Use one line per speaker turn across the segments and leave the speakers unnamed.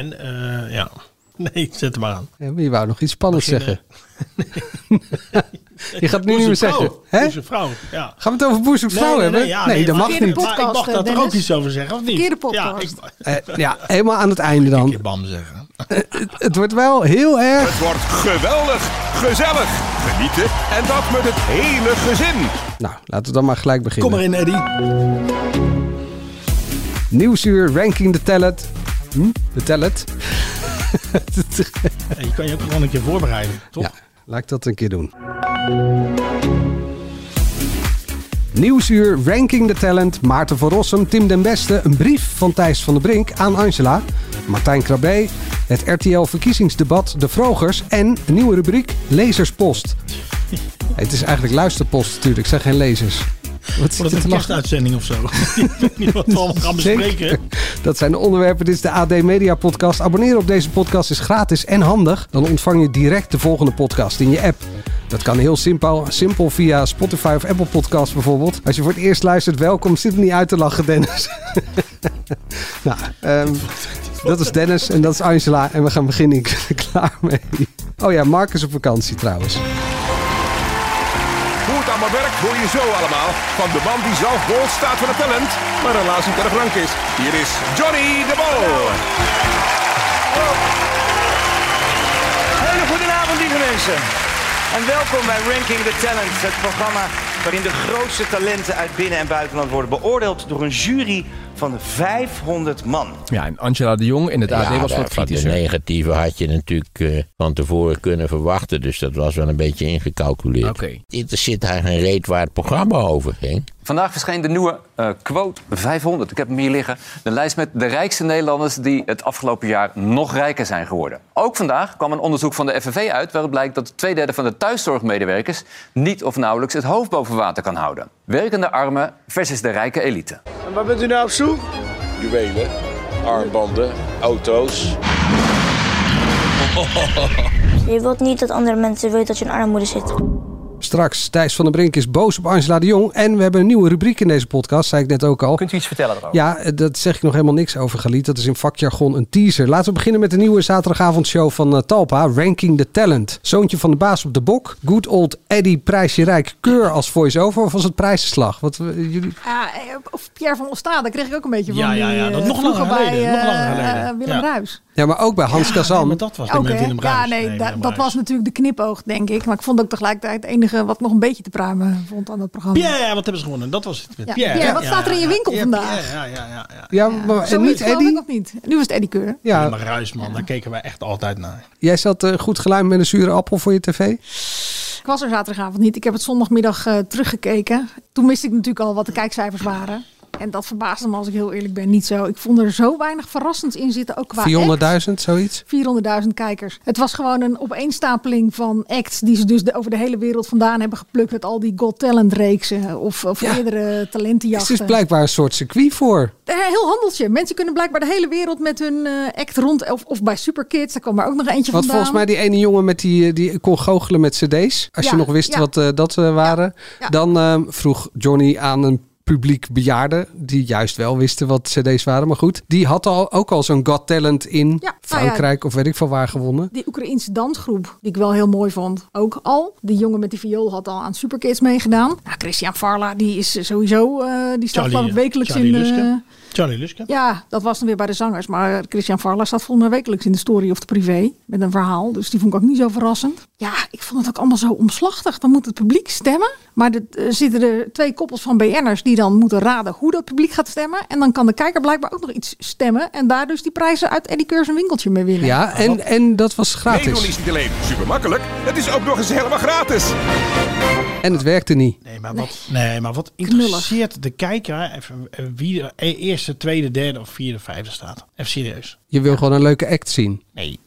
En eh, ja. Nee, zet hem maar aan.
Ja, maar je eh, wou nog iets spannends
Beginnen.
zeggen. je gaat het nu niet meer zeggen. Hè?
Hè? Is een vrouw, ja.
Gaan we het over boer zoekt vrouw hebben? Nee,
ja,
dat mag
verkeerde
niet.
podcast, Maar ik mag
eh,
daar toch ook
Dennis?
iets over zeggen, of niet?
Verkeerde podcast.
Ja, ik,
Eh, ja, helemaal aan het einde dan.
je bam zeggen.
Het wordt wel heel erg.
Het wordt geweldig, gezellig, genieten en dat met het hele gezin.
Nou, laten we dan maar gelijk beginnen.
Kom maar in, Eddie.
Nieuwsuur, ranking de talent. Hm? De talent?
Ja, je kan je ook gewoon een keer voorbereiden, toch?
Ja, laat ik dat een keer doen. Nieuwsuur, ranking de talent. Maarten van Rossum, Tim den Beste. Een brief van Thijs van der Brink aan Angela. Martijn Krabbe. Het RTL-verkiezingsdebat, de Vrogers. En een nieuwe rubriek, Lezerspost. Het is eigenlijk luisterpost natuurlijk, ik zeg geen lezers. Wat zit
Wordt
er
het
te
een
lachen?
kerstuitzending of zo? ik weet niet wat we allemaal gaan
Zeker.
bespreken.
Dat zijn de onderwerpen. Dit is de AD Media Podcast. Abonneren op deze podcast is gratis en handig. Dan ontvang je direct de volgende podcast in je app. Dat kan heel simpel, simpel via Spotify of Apple Podcasts bijvoorbeeld. Als je voor het eerst luistert, welkom. Zit me niet uit te lachen, Dennis. nou, ehm, dat is Dennis en dat is Angela. En we gaan beginnen. Ik ben er klaar mee. Oh ja, Mark is op vakantie trouwens.
Hoe het allemaal werkt hoor je zo allemaal van de man die zelf bol staat van het talent, maar helaas niet erg rank is. Hier is Johnny de Bol.
Hele goedenavond, lieve mensen. En welkom bij Ranking the Talent, het programma waarin de grootste talenten uit binnen- en buitenland worden beoordeeld door een jury van 500 man.
Ja, en Angela de Jong in het AD was wat
dat- van
kritischer.
De negatieve had je natuurlijk eh, van tevoren kunnen verwachten. Dus dat was wel een beetje ingecalculeerd.
Oké.
Dit er zit daar geen reet waar het programma over ging.
Vandaag verscheen de nieuwe eh, quote 500. Ik heb hem hier liggen. De lijst met de rijkste Nederlanders die het afgelopen jaar nog rijker zijn geworden. Ook vandaag kwam een onderzoek van de FNV uit... waaruit blijkt dat twee derde van de thuiszorgmedewerkers... niet of nauwelijks het hoofd boven water kan houden. Werkende armen versus de rijke elite.
Waar bent u nou op zoek?
Juwelen, armbanden, auto's.
Je wilt niet dat andere mensen weten dat je in armoede zit.
Straks, Thijs van den Brink is boos op Angela de Jong. En we hebben een nieuwe rubriek in deze podcast, zei ik net ook al.
Kunt u iets vertellen daarover?
Ja, eh, dat zeg ik nog helemaal niks over, Galiet. Dat is in vakjargon een teaser. Laten we beginnen met de nieuwe zaterdagavondshow van eh, Talpa, Ranking the Talent. Zoontje van de baas op de bok. Good old Eddie Prijsje Rijk Keur als voice-over. Of was het prijsslag? Wat, eh, jullie...
Ja, eh, of Pierre van Ostade, daar kreeg ik ook een beetje
Ja,
van.
ja,
die,
ja, dat
eh,
nog langer
vroeger bij,
geleden, nog
eh,
langer geleden.
eh, Willem
Ja.
Ruis.
Ja, maar ook bij Hans Kazan.
Nee, maar dat was
Ook,
met
hè?
Willem
ja,
Bruijs.
nee,
Willem
dat, dat
Bruijs.
was natuurlijk de knipoog, denk ik. Maar ik vond ook tegelijkertijd het enige wat nog een beetje te pruimen vond aan dat programma.
Pierre, wat hebben ze gewonnen? Dat was het. met
Ja, Pierre, wat staat er in je winkel vandaag?
Pierre, ja, ja, ja. ja.
Ja, maar, en
Zoiets
niet
geloof ik
Eddie.
Of niet? Nu was het Eddie Keur.
Ja.
Ja,
Maar Ruis, man, daar keken wij echt altijd naar.
jij zat eh, goed geluimd met een zure appel voor je tv.
Ik was er zaterdagavond niet. Ik heb het zondagmiddag eh, teruggekeken. Toen wist ik natuurlijk al wat de kijkcijfers waren. En dat verbaasde me, als ik heel eerlijk ben, niet zo. Ik vond er zo weinig verrassends in zitten, ook qua act.
400.000, zoiets.
400.000 kijkers. Het was gewoon een opeenstapeling van acts die ze dus de- over de hele wereld vandaan hebben geplukt. Uit al die God Talent reeksen eh, of, of
Ja.
eerdere
Dus Het
talentenjachten.
is blijkbaar een soort circuit voor.
Eh, Heel handeltje. Mensen kunnen blijkbaar de hele wereld met hun eh, act rond. Of, of bij Superkids, daar kwam er ook nog eentje
Want
vandaan.
volgens mij die ene jongen met die, eh, die kon goochelen met cd's. Als je
Ja,
nog wist
ja.
wat eh, dat eh, waren.
ja.
Dan eh, vroeg Johnny aan een publiek bejaarden. Die juist wel wisten wat cd's waren. Maar goed, die had al, ook al zo'n God Talent in
ja.
Frankrijk of weet ik van waar gewonnen.
Die Oekraïense dansgroep, die ik wel heel mooi vond, ook al. Die jongen met die viool had al aan Superkids meegedaan. Nou, Christian Farla, die is eh, sowieso, eh, die
Charlie,
staat geloof ik
eh,
wekelijks
Charlie
in eh, de...
Luske. Charlie Luske.
Ja, dat was dan weer bij de zangers. Maar Christian Varla staat volgens mij wekelijks in de story of de privé met een verhaal. Dus die vond ik ook niet zo verrassend. Ja, ik vond het ook allemaal zo omslachtig. Dan moet het publiek stemmen. Maar er eh, zitten er twee koppels van BN'ers die dan moeten raden hoe dat publiek gaat stemmen. En dan kan de kijker blijkbaar ook nog iets stemmen. En daar dus die prijzen uit Eddie Keur zijn winkeltje mee winnen.
Ja, en, en dat was
Meedoen is
gratis.
niet alleen super makkelijk, het is ook nog eens helemaal gratis.
En het werkte niet.
Nee, maar wat, nee, maar wat
Knullig.
interesseert de kijker hè, even, eh, wie er e- eerste, tweede, derde of vierde, vijfde staat? Even serieus.
Je wil gewoon een leuke act zien.
Nee.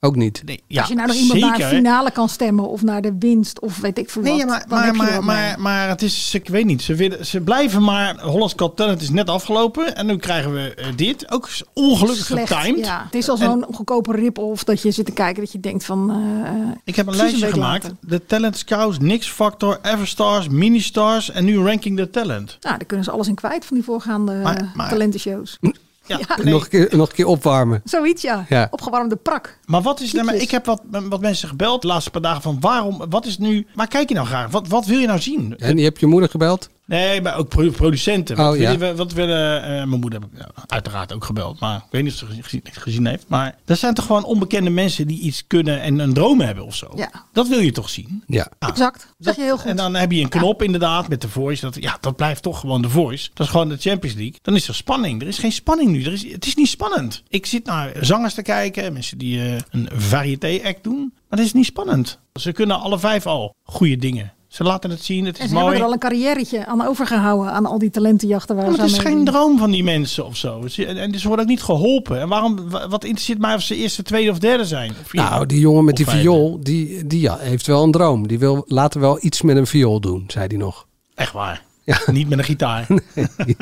Ook niet.
nee ja,
Als je nou nog iemand
zeker,
naar
hè.
de finale kan stemmen of naar de winst of weet ik veel
Nee,
wat.
ja, maar,
dan
maar,
heb je er
maar,
wat mee.
maar, maar het is, ik weet niet, ze, willen, ze blijven maar, Hollands Got Talent is net afgelopen en nu krijgen we eh, dit, ook s- ongelukkig
Slecht,
getimed.
ja. Het is al zo'n goedkope rip-off dat je zit te kijken dat je denkt van... eh,
Ik heb een
Precies een
lijstje
week
gemaakt,
later.
de Talent Scouts, Nix Factor, Everstars, Ministars en nu Ranking the Talent.
Nou, daar kunnen ze alles in kwijt van die voorgaande
Maar- Hm.
eh,
maar-
talentenshows.
Ja,
Ja.
nee.
Nog, een keer, nog een keer opwarmen.
Zoiets, ja.
Ja.
Opgewarmde prak.
Maar wat is nou, maar
Liedjes.
ik heb wat, wat mensen gebeld de laatste paar dagen van waarom, wat is nu, maar kijk je nou graag, wat, wat wil je nou zien?
En je hebt je moeder gebeld?
Nee, maar ook pro- producenten. Wat
Oh, ja.
willen, we- wat willen eh, mijn moeder heb ik nou, uiteraard ook gebeld, maar ik weet niet of ze gezien, gezien- gezien heeft. Maar dat zijn toch gewoon onbekende mensen die iets kunnen en een droom hebben of zo.
Ja.
Dat wil je toch zien?
Ja.
Exact. Dat zeg je heel
En
goed.
dan heb je een knop inderdaad met de voice. Dat, ja, dat blijft toch gewoon de voice. Dat is gewoon de Champions League. Dan is er spanning. Er is geen spanning nu. Er is, het is niet spannend. Ik zit naar zangers te kijken. Mensen die eh, een variété act doen. Maar dat is niet spannend. Ze kunnen alle vijf al goede dingen. Ze laten het zien. Het
En
is
ze
mooi.
hebben er al een carrièretje aan overgehouden aan al die talentenjachten waar
Ja, maar
ze
het is
aan
geen
meedoen.
droom van die mensen of zo. Het is- En, en ze worden ook niet geholpen. En waarom, wa- wat interesseert mij of ze eerste, tweede of derde zijn? Of vierde?
Nou, die jongen met
Of
die
vijfde.
viool, die, die ja, heeft wel een droom. Die wil later wel iets met een viool doen, zei hij nog.
Echt waar. Niet met een gitaar.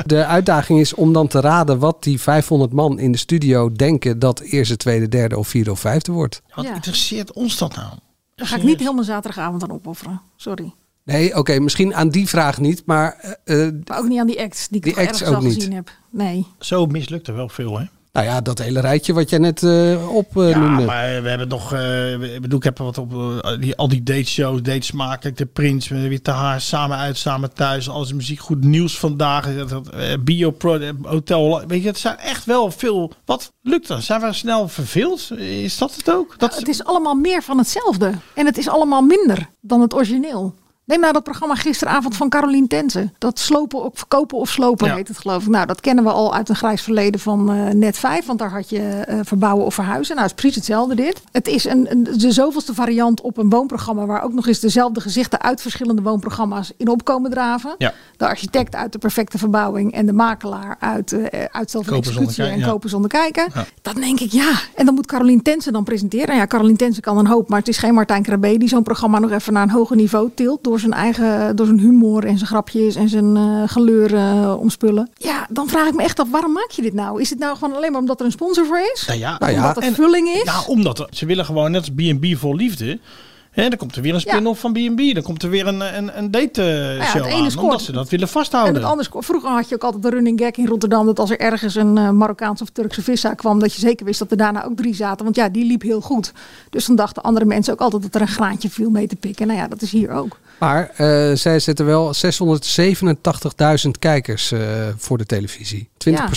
De uitdaging is om dan te raden wat die 500 man in de studio denken dat eerste, tweede, derde of vierde of vijfde wordt.
Wat
Ja.
interesseert ons dat nou?
Daar ga ik niet helemaal zaterdagavond aan opofferen. Sorry.
Nee, oké, misschien aan die vraag niet, maar eh, eh,
Maar ook niet aan die acts die ik
Die
toch
acts
ergens al
ook niet.
gezien heb. Nee.
Zo mislukt er wel veel, hè?
nou ja, dat hele rijtje wat jij net eh
Ja,
opnoemde.
maar we hebben nog... eh, ik bedoel, ik heb wat op... eh, die, al die dateshows, dates smakelijk, de prins, eh, weer te haar, samen uit, samen thuis. Alles muziek, goed nieuws vandaag. eh, Dat, eh, bio pro, eh, hotel. Weet je, het zijn echt wel veel... Wat lukt er? Zijn we snel verveeld? Is dat het ook? Dat,
Het is allemaal meer van hetzelfde. En het is allemaal minder dan het origineel. Neem nou dat programma gisteravond van Carolien Tense. Dat slopen of verkopen of slopen
Ja.
heet het geloof ik. Nou, dat kennen we al uit een grijs verleden van eh, net 5. Want daar had je eh, verbouwen of verhuizen. Nou, het is precies hetzelfde dit. Het is een, een, de zoveelste variant op een woonprogramma... waar ook nog eens dezelfde gezichten uit verschillende woonprogramma's in opkomen draven.
Ja.
De architect uit de perfecte verbouwing en de makelaar uit eh uitstel van
Kopen zonder
executie
kijken,
en
ja.
kopen kopen zonder kijken.
Ja.
Dan denk ik, ja. En dan moet Carolien Tensen dan presenteren. Nou ja, Carolien Tensen kan een hoop, maar het is geen Martijn Krabbe... die zo'n programma nog even naar een hoger niveau tilt... door zijn eigen door zijn humor en zijn grapjes en zijn eh, geleur eh, om spullen. Ja, dan vraag ik me echt af, waarom maak je dit nou? Is het nou gewoon alleen maar omdat er een sponsor voor is?
Nou ja, Nou,
Nou ja,
Omdat het
en-
vulling is?
Ja, omdat er- ze willen gewoon net als B&B vol liefde. Hè, dan komt er weer een spin-off van B&B. Dan komt er weer een, een, een date eh,
Nou ja,
show
het ene
aan.
scoort.
Omdat ze dat willen
En
vasthouden.
het anders, vroeger had je ook altijd de running gag in Rotterdam... dat als er ergens een eh, Marokkaanse of Turkse vissa kwam... dat je zeker wist dat er daarna ook drie zaten. Want ja, die liep heel goed. Dus dan dachten andere mensen ook altijd dat er een graantje viel mee te pikken. Nou ja, dat is hier ook.
Maar eh, zij zetten wel 687.000 kijkers eh, voor de televisie.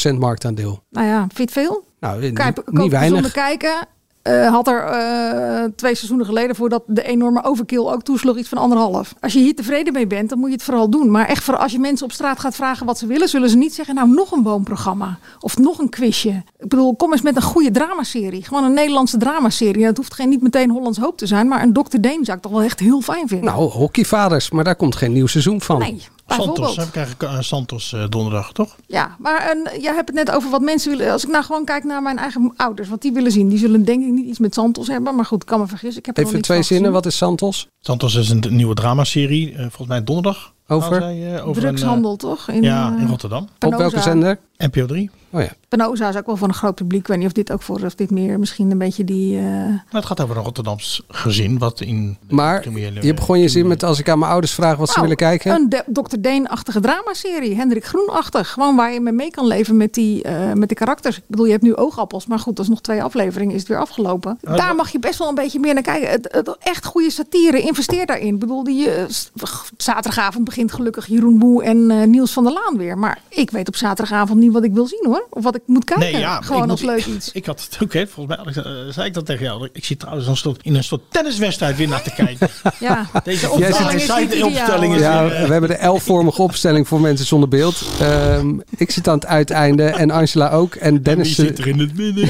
20% marktaandeel.
Nou ja, vind je het veel?
Nou, eh,
Kijk,
niet, niet
Zonder
weinig.
kijken eh, had er eh, twee seizoenen geleden... voordat de enorme overkill ook toesloeg iets van anderhalf. Als je hier tevreden mee bent, dan moet je het vooral doen. Maar echt, voor als je mensen op straat gaat vragen wat ze willen... zullen ze niet zeggen, nou, nog een woonprogramma. Of nog een quizje. Ik bedoel, kom eens met een goede dramaserie. Gewoon een Nederlandse dramaserie. Dat hoeft geen niet meteen Hollands Hoop te zijn... maar een Dr. Deen zou ik toch wel echt heel fijn vinden.
Nou, hockeyvaders, maar daar komt geen nieuw seizoen van.
nee,
Santos,
bijvoorbeeld.
hè, we krijgen eh, Santos eh, donderdag, toch?
Ja, maar en, jij hebt het net over wat mensen willen. Als ik nou gewoon kijk naar mijn eigen ouders, wat die willen zien. Die zullen denk ik niet iets met Santos hebben, maar goed, ik kan me vergissen. Ik heb er nog
Even
niks
twee
van
zinnen,
gezien.
wat is Santos?
Santos is een d- nieuwe dramaserie, eh, volgens mij donderdag.
Over?
gaan zij, eh, over
Drugshandel, toch?
een, eh, ja,
eh,
in Rotterdam.
Op
Penosa.
welke zender?
NPO 3.
Oh ja.
Penosa is ook wel van een groot publiek. Ik weet niet of dit ook voor, of dit meer misschien een beetje die... eh,
Nou, het gaat over een Rotterdams gezin, wat in... de
Maar
criminele-
je begon je zin met als ik aan mijn ouders vraag wat ze
nou,
willen kijken.
Een de- Dr. Deen-achtige dramaserie. Hendrik Groen-achtig. Gewoon waar je mee mee kan leven met die, eh, met die karakters. Ik bedoel, je hebt nu oogappels. Maar goed, dat is nog twee afleveringen. Is het weer afgelopen. Daar mag je best wel een beetje meer naar kijken. Het, het- echt goede satire. Investeer daarin. Ik bedoel, die, eh, s- g- zaterdagavond begint gelukkig Jeroen Boe en eh, Niels van der Laan weer. Maar ik weet op zaterdagavond niet wat ik wil zien hoor. Of wat ik moet kijken. Gewoon
ik
als
moet-
leuk iets.
Ik had het ook, hè, volgens mij eh, zei ik dat tegen jou. Ik zit trouwens een soort, in een soort tenniswedstrijd weer naar te kijken.
Ja.
Deze
Jij zit-
opstelling is niet
ideaal,
opstelling is
hoor.
Ja,
ja,
we hebben de L-vormige opstelling voor mensen zonder beeld. Ehm, ik zit aan het uiteinde en Angela ook. En Dennis,
Die zit er in het midden.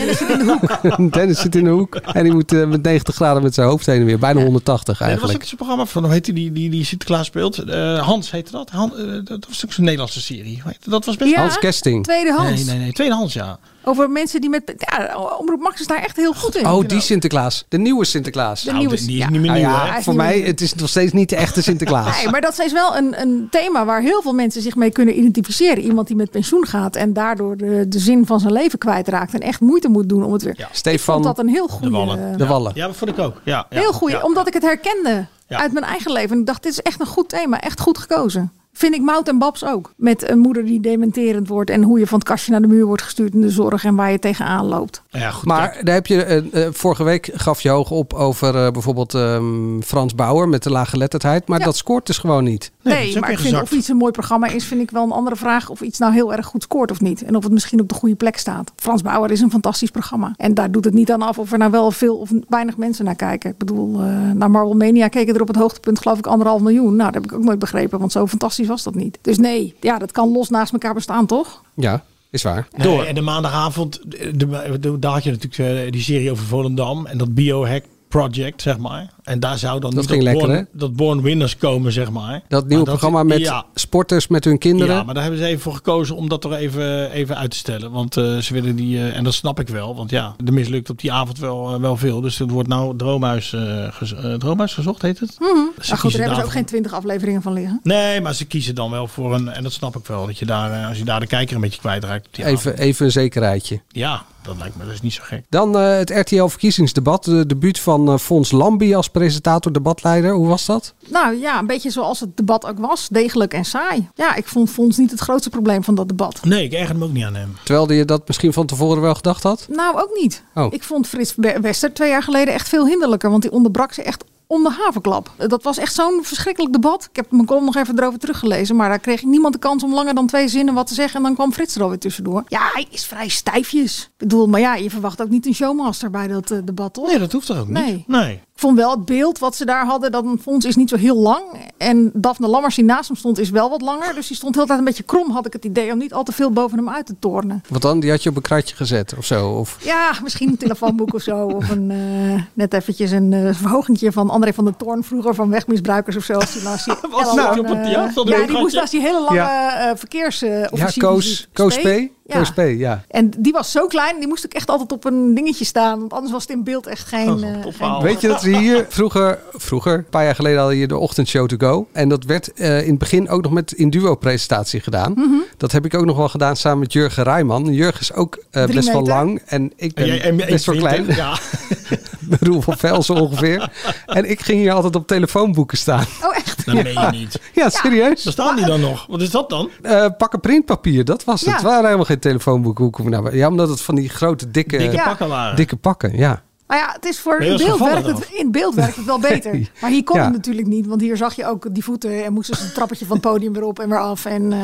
Dennis zit in de hoek. En die moet eh, met 90 graden met zijn hoofd heen en weer. Bijna 180
Nee, dat was
eigenlijk.
ook zo'n programma van, hoe heet die, die, die, die Sinterklaas speelt? Eh, Hans heette dat. Han, eh, dat was ook zo'n Nederlandse serie. Hoe heette Dat Dat was best...
Ja,
Hans Kesting.
Tweede Hans.
Nee, nee, nee. Tweede Hans, ja.
Over mensen die met... Ja, Omroep Max is daar echt heel goed in.
Oh, die Sinterklaas. De nieuwe Sinterklaas.
De
Nou,
nieuwe-
die die is
ja.
niet meer
Nou
nieuw,
ja,
hè?
Hij is
voor
niet
mij
meer-
het is nog steeds niet de echte Sinterklaas.
Nee, maar dat is wel een, een thema waar heel veel mensen zich mee kunnen identificeren. Iemand die met pensioen gaat en daardoor de, de zin van zijn leven kwijtraakt. En echt moeite moet doen om het weer...
Ja.
Vond
Stefan
dat een heel goede...
De Wallen.
de Wallen.
Ja, dat vond ik ook. Ja, ja,
heel goede,
ja.
omdat ik het herkende
Ja.
uit mijn eigen leven. En ik dacht, dit is echt een goed thema. Echt goed gekozen. Vind ik Mout en Babs ook. Met een moeder die dementerend wordt en hoe je van het kastje naar de muur wordt gestuurd in de zorg en waar je tegenaan loopt.
Ja, goed.
Maar daar heb je, eh, eh, vorige week gaf je hoog op over eh, bijvoorbeeld ehm, Frans Bauer met de laaggeletterdheid. Maar
Ja.
dat scoort dus gewoon niet.
Nee,
Nee,
dat is ook
maar ik vind
ingezakt.
of iets een mooi programma is, vind ik wel een andere vraag. Of iets nou heel erg goed scoort of niet. En of het misschien op de goede plek staat. Frans Bauer is een fantastisch programma. En daar doet het niet aan af of er nou wel veel of weinig mensen naar kijken. Ik bedoel, eh, naar Marvel Mania keken er op het hoogtepunt geloof ik anderhalf miljoen. Nou, dat heb ik ook nooit begrepen, want zo fantastisch was dat niet. Dus nee, ja, dat kan los naast elkaar bestaan, toch?
Ja, is waar.
Nee, en de maandagavond, de, de- daar had je natuurlijk eh, die serie over Volendam en dat biohack project, zeg maar. En daar zou dan
Dat
niet
ging lekker,
Born,
hè?
dat Born Winners komen, zeg maar.
Dat
Maar
nieuwe programma met
Ja,
sporters met hun kinderen.
ja, maar daar hebben ze even voor gekozen om dat er even, even uit te stellen. Want eh, ze willen die, eh, en dat snap ik wel, want ja, er mislukt op die avond wel, eh, wel veel. Dus het wordt nou Droomhuis, eh, gez- eh, droomhuis gezocht, heet het? Ze
Maar Mhm. Ah, goed,
kiezen
daar hebben ze ook
daarvoor-
geen twintig afleveringen van liggen.
Nee, maar ze kiezen dan wel voor een, en dat snap ik wel, dat je daar, eh, als je daar de kijker een beetje kwijtraakt. op die avond.
Even, even een zekerheidje.
Ja, dat lijkt me dus niet zo gek.
Dan eh, het RTL-verkiezingsdebat. De debuut van eh, Fons Lambi als presentator, debatleider. Hoe was dat?
Nou ja, een beetje zoals het debat ook was. Degelijk en saai. Ja, ik vond Fons niet het grootste probleem van dat debat.
Nee, ik erger me ook niet aan hem.
Terwijl je dat misschien van tevoren wel gedacht had.
Nou, ook niet.
Oh.
Ik vond Frits Be- Wester twee jaar geleden echt veel hinderlijker. Want die onderbrak ze echt om de havenklap. Dat was echt zo'n verschrikkelijk debat. Ik heb mijn column nog even erover teruggelezen. Maar daar kreeg ik niemand de kans om langer dan twee zinnen wat te zeggen. En dan kwam Frits er alweer tussendoor. Ja, hij is vrij stijfjes. Ik bedoel, maar ja, je verwacht ook niet een showmaster bij dat eh, debat, toch?
Nee, dat hoeft er ook niet.
Nee.
Nee.
Ik vond wel het beeld wat ze daar hadden, dat een fonds is niet zo heel lang. En Daphne Lammers die naast hem stond is wel wat langer. Dus die stond heel de tijd een beetje krom, had ik het idee, om niet al te veel boven hem uit te tornen.
Want dan, die had je op een kratje gezet of zo. Of...
Ja, misschien een telefoonboek of zo. Of een, eh, net eventjes een eh verhogentje van André van der Toorn vroeger van wegmisbruikers of zo. Als die naast die
Was
hele
nou,
lange-
die op het theater hadden we
Ja,
een
die moest
gatje.
naast die hele lange
Ja.
eh verkeersofficier.
Ja, Koos, Koos P. Koos P, ja.
En die was zo klein, die moest ik echt altijd op een dingetje staan. Want anders was het in beeld echt geen...
Dat is een
eh,
top
geen-
verhaal.
Weet je dat we hier vroeger, vroeger, een paar jaar geleden hadden je de ochtendshow to go. En dat werd eh, in het begin ook nog met in duo presentatie gedaan.
Mhm.
Dat heb ik ook nog wel gedaan samen met Jurgen Rijman. Jurgen is ook eh,
Drie
best wel
meter.
lang en ik ben
En jij- en-
best wel
1,20,
klein.
Ja.
Roel van Velsen ongeveer. En ik ging hier altijd op telefoonboeken staan.
Oh, echt?
Dat meen je niet.
Ja, serieus.
Daar staan die dan nog. Wat is dat dan?
Eh, pakken printpapier, dat was het.
Ja.
Het waren helemaal geen telefoonboeken. Hoe kom je nou bij- Ja, omdat het van die grote, dikke,
Dikke
Ja.
pakken waren.
dikke pakken. Ja.
Nou ja, het is voor
Nee,
in
dat is
beeld,
gevallen
werkt het,
dan.
in beeld werkt het wel beter. Maar hier kon
Ja.
het natuurlijk niet. Want hier zag je ook die voeten en moesten ze het trappetje van het podium weer op en weer af. En eh,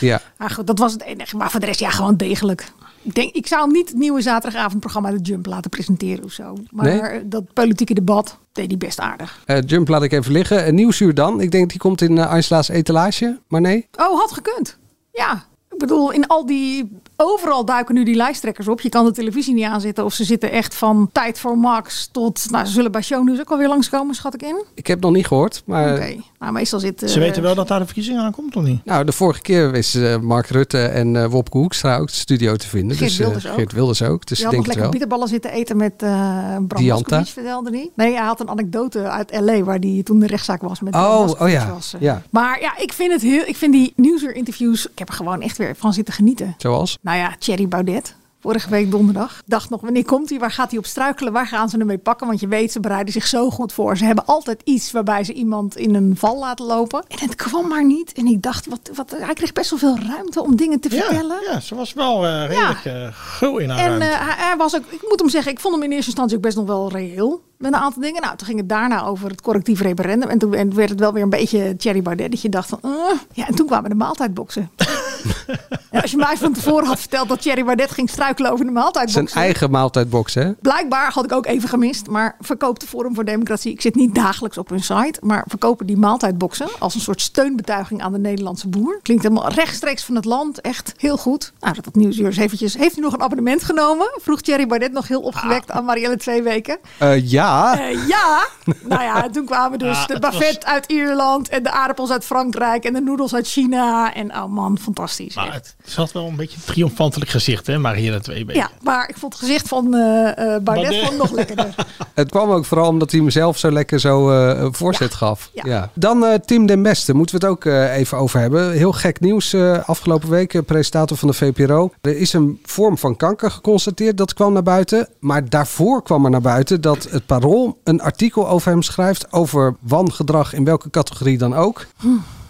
ja.
Maar goed, dat was het enige. Maar voor de rest, ja, gewoon degelijk. Ik, denk, ik zou hem niet het nieuwe zaterdagavondprogramma De Jump laten presenteren of zo. Maar
Nee?
dat politieke debat deed hij best aardig.
Eh, Jump laat ik even liggen. Eh, Nieuwsuur dan. Ik denk die komt in eh, Aisla's etalage. Maar nee.
Oh, had gekund. Ja. Ik bedoel, in al die. Overal duiken nu die lijsttrekkers op. Je kan de televisie niet aanzetten. Of ze zitten echt van tijd voor Max tot. Nou, ze zullen bij Shownews ook alweer langskomen, schat ik in. Oké.
Ik heb het nog niet gehoord. Maar
Nou, meestal zitten.
Eh, Ze weten wel dat daar de verkiezing aankomt, of niet?
nou, de vorige keer wisten eh, Mark Rutte en eh Wopke Hoekstra ook de studio te vinden.
Geert
dus, eh,
Wilders ook.
Geert Wilders ook. Dus
Je
ik
had
denk
nog
het
lekker
wel.
bitterballen zitten eten met eh Bram
Dianta?
Moskowitz, vertelde hij. Nee, hij had een anekdote uit L.A. waar die toen de rechtszaak was met Bram
Oh,
Moskowitz
oh ja,
was, eh.
ja.
Maar ja, ik vind, het heel, ik vind die nieuwsuurinterviews, ik heb er gewoon echt weer van zitten genieten.
Zoals?
Nou ja, Thierry Baudet. Vorige week donderdag. Dacht nog, wanneer komt hij? Waar gaat hij op struikelen? Waar gaan ze hem mee pakken? Want je weet, ze bereiden zich zo goed voor. Ze hebben altijd iets waarbij ze iemand in een val laten lopen. En het kwam maar niet. En ik dacht, wat, wat, hij kreeg best wel veel ruimte om dingen te vertellen.
Ja, ja, ze was wel eh, redelijk eh gul in haar
En
ruimte.
eh, hij, hij was ook, ik moet hem zeggen, ik vond hem in eerste instantie ook best nog wel reëel. Met een aantal dingen. Nou, toen ging het daarna over het correctief referendum. En toen en toen werd het wel weer een beetje Thierry Baudet. Dat je dacht van, eh. ja, en toen kwamen de maaltijdboxen. en als je mij van tevoren had verteld dat Thierry Baudet ging struikelen over de
Zijn
maaltijdboxen.
eigen maaltijdbox, hè?
Blijkbaar had ik ook even gemist, maar verkoopt de Forum voor Democratie. Ik zit niet dagelijks op hun site, maar verkopen die maaltijdboxen als een soort steunbetuiging aan de Nederlandse boer. Klinkt helemaal rechtstreeks van het land, echt heel goed. Nou, dat het nieuwsuur is eventjes. Heeft u nog een abonnement genomen? Vroeg Thierry Baudet nog heel opgewekt aan Marielle twee weken.
Eh, ja.
Eh, ja, nou ja, en toen kwamen dus
Ah,
de
het was-
bavet uit Ierland en de aardappels uit Frankrijk en de noedels uit China. En oh man, fantastisch.
maar
echt.
het zat wel een beetje een triomfantelijk gezicht, hè? Maar hier dat twee
Ja,
benen.
maar ik vond het gezicht van eh, eh, Baudet,
Baudet.
vond ik nog lekkerder.
Het kwam ook vooral omdat hij mezelf zo lekker zo eh, voorzet gaf. Ja.
ja.
Dan eh, Tim Den Beste, moeten we het ook eh, even over hebben. Heel gek nieuws eh, afgelopen week, eh, presentator van de VPRO. Er is een vorm van kanker geconstateerd, dat kwam naar buiten. Maar daarvoor kwam er naar buiten dat het Parool een artikel over hem schrijft... over wangedrag in welke categorie dan ook.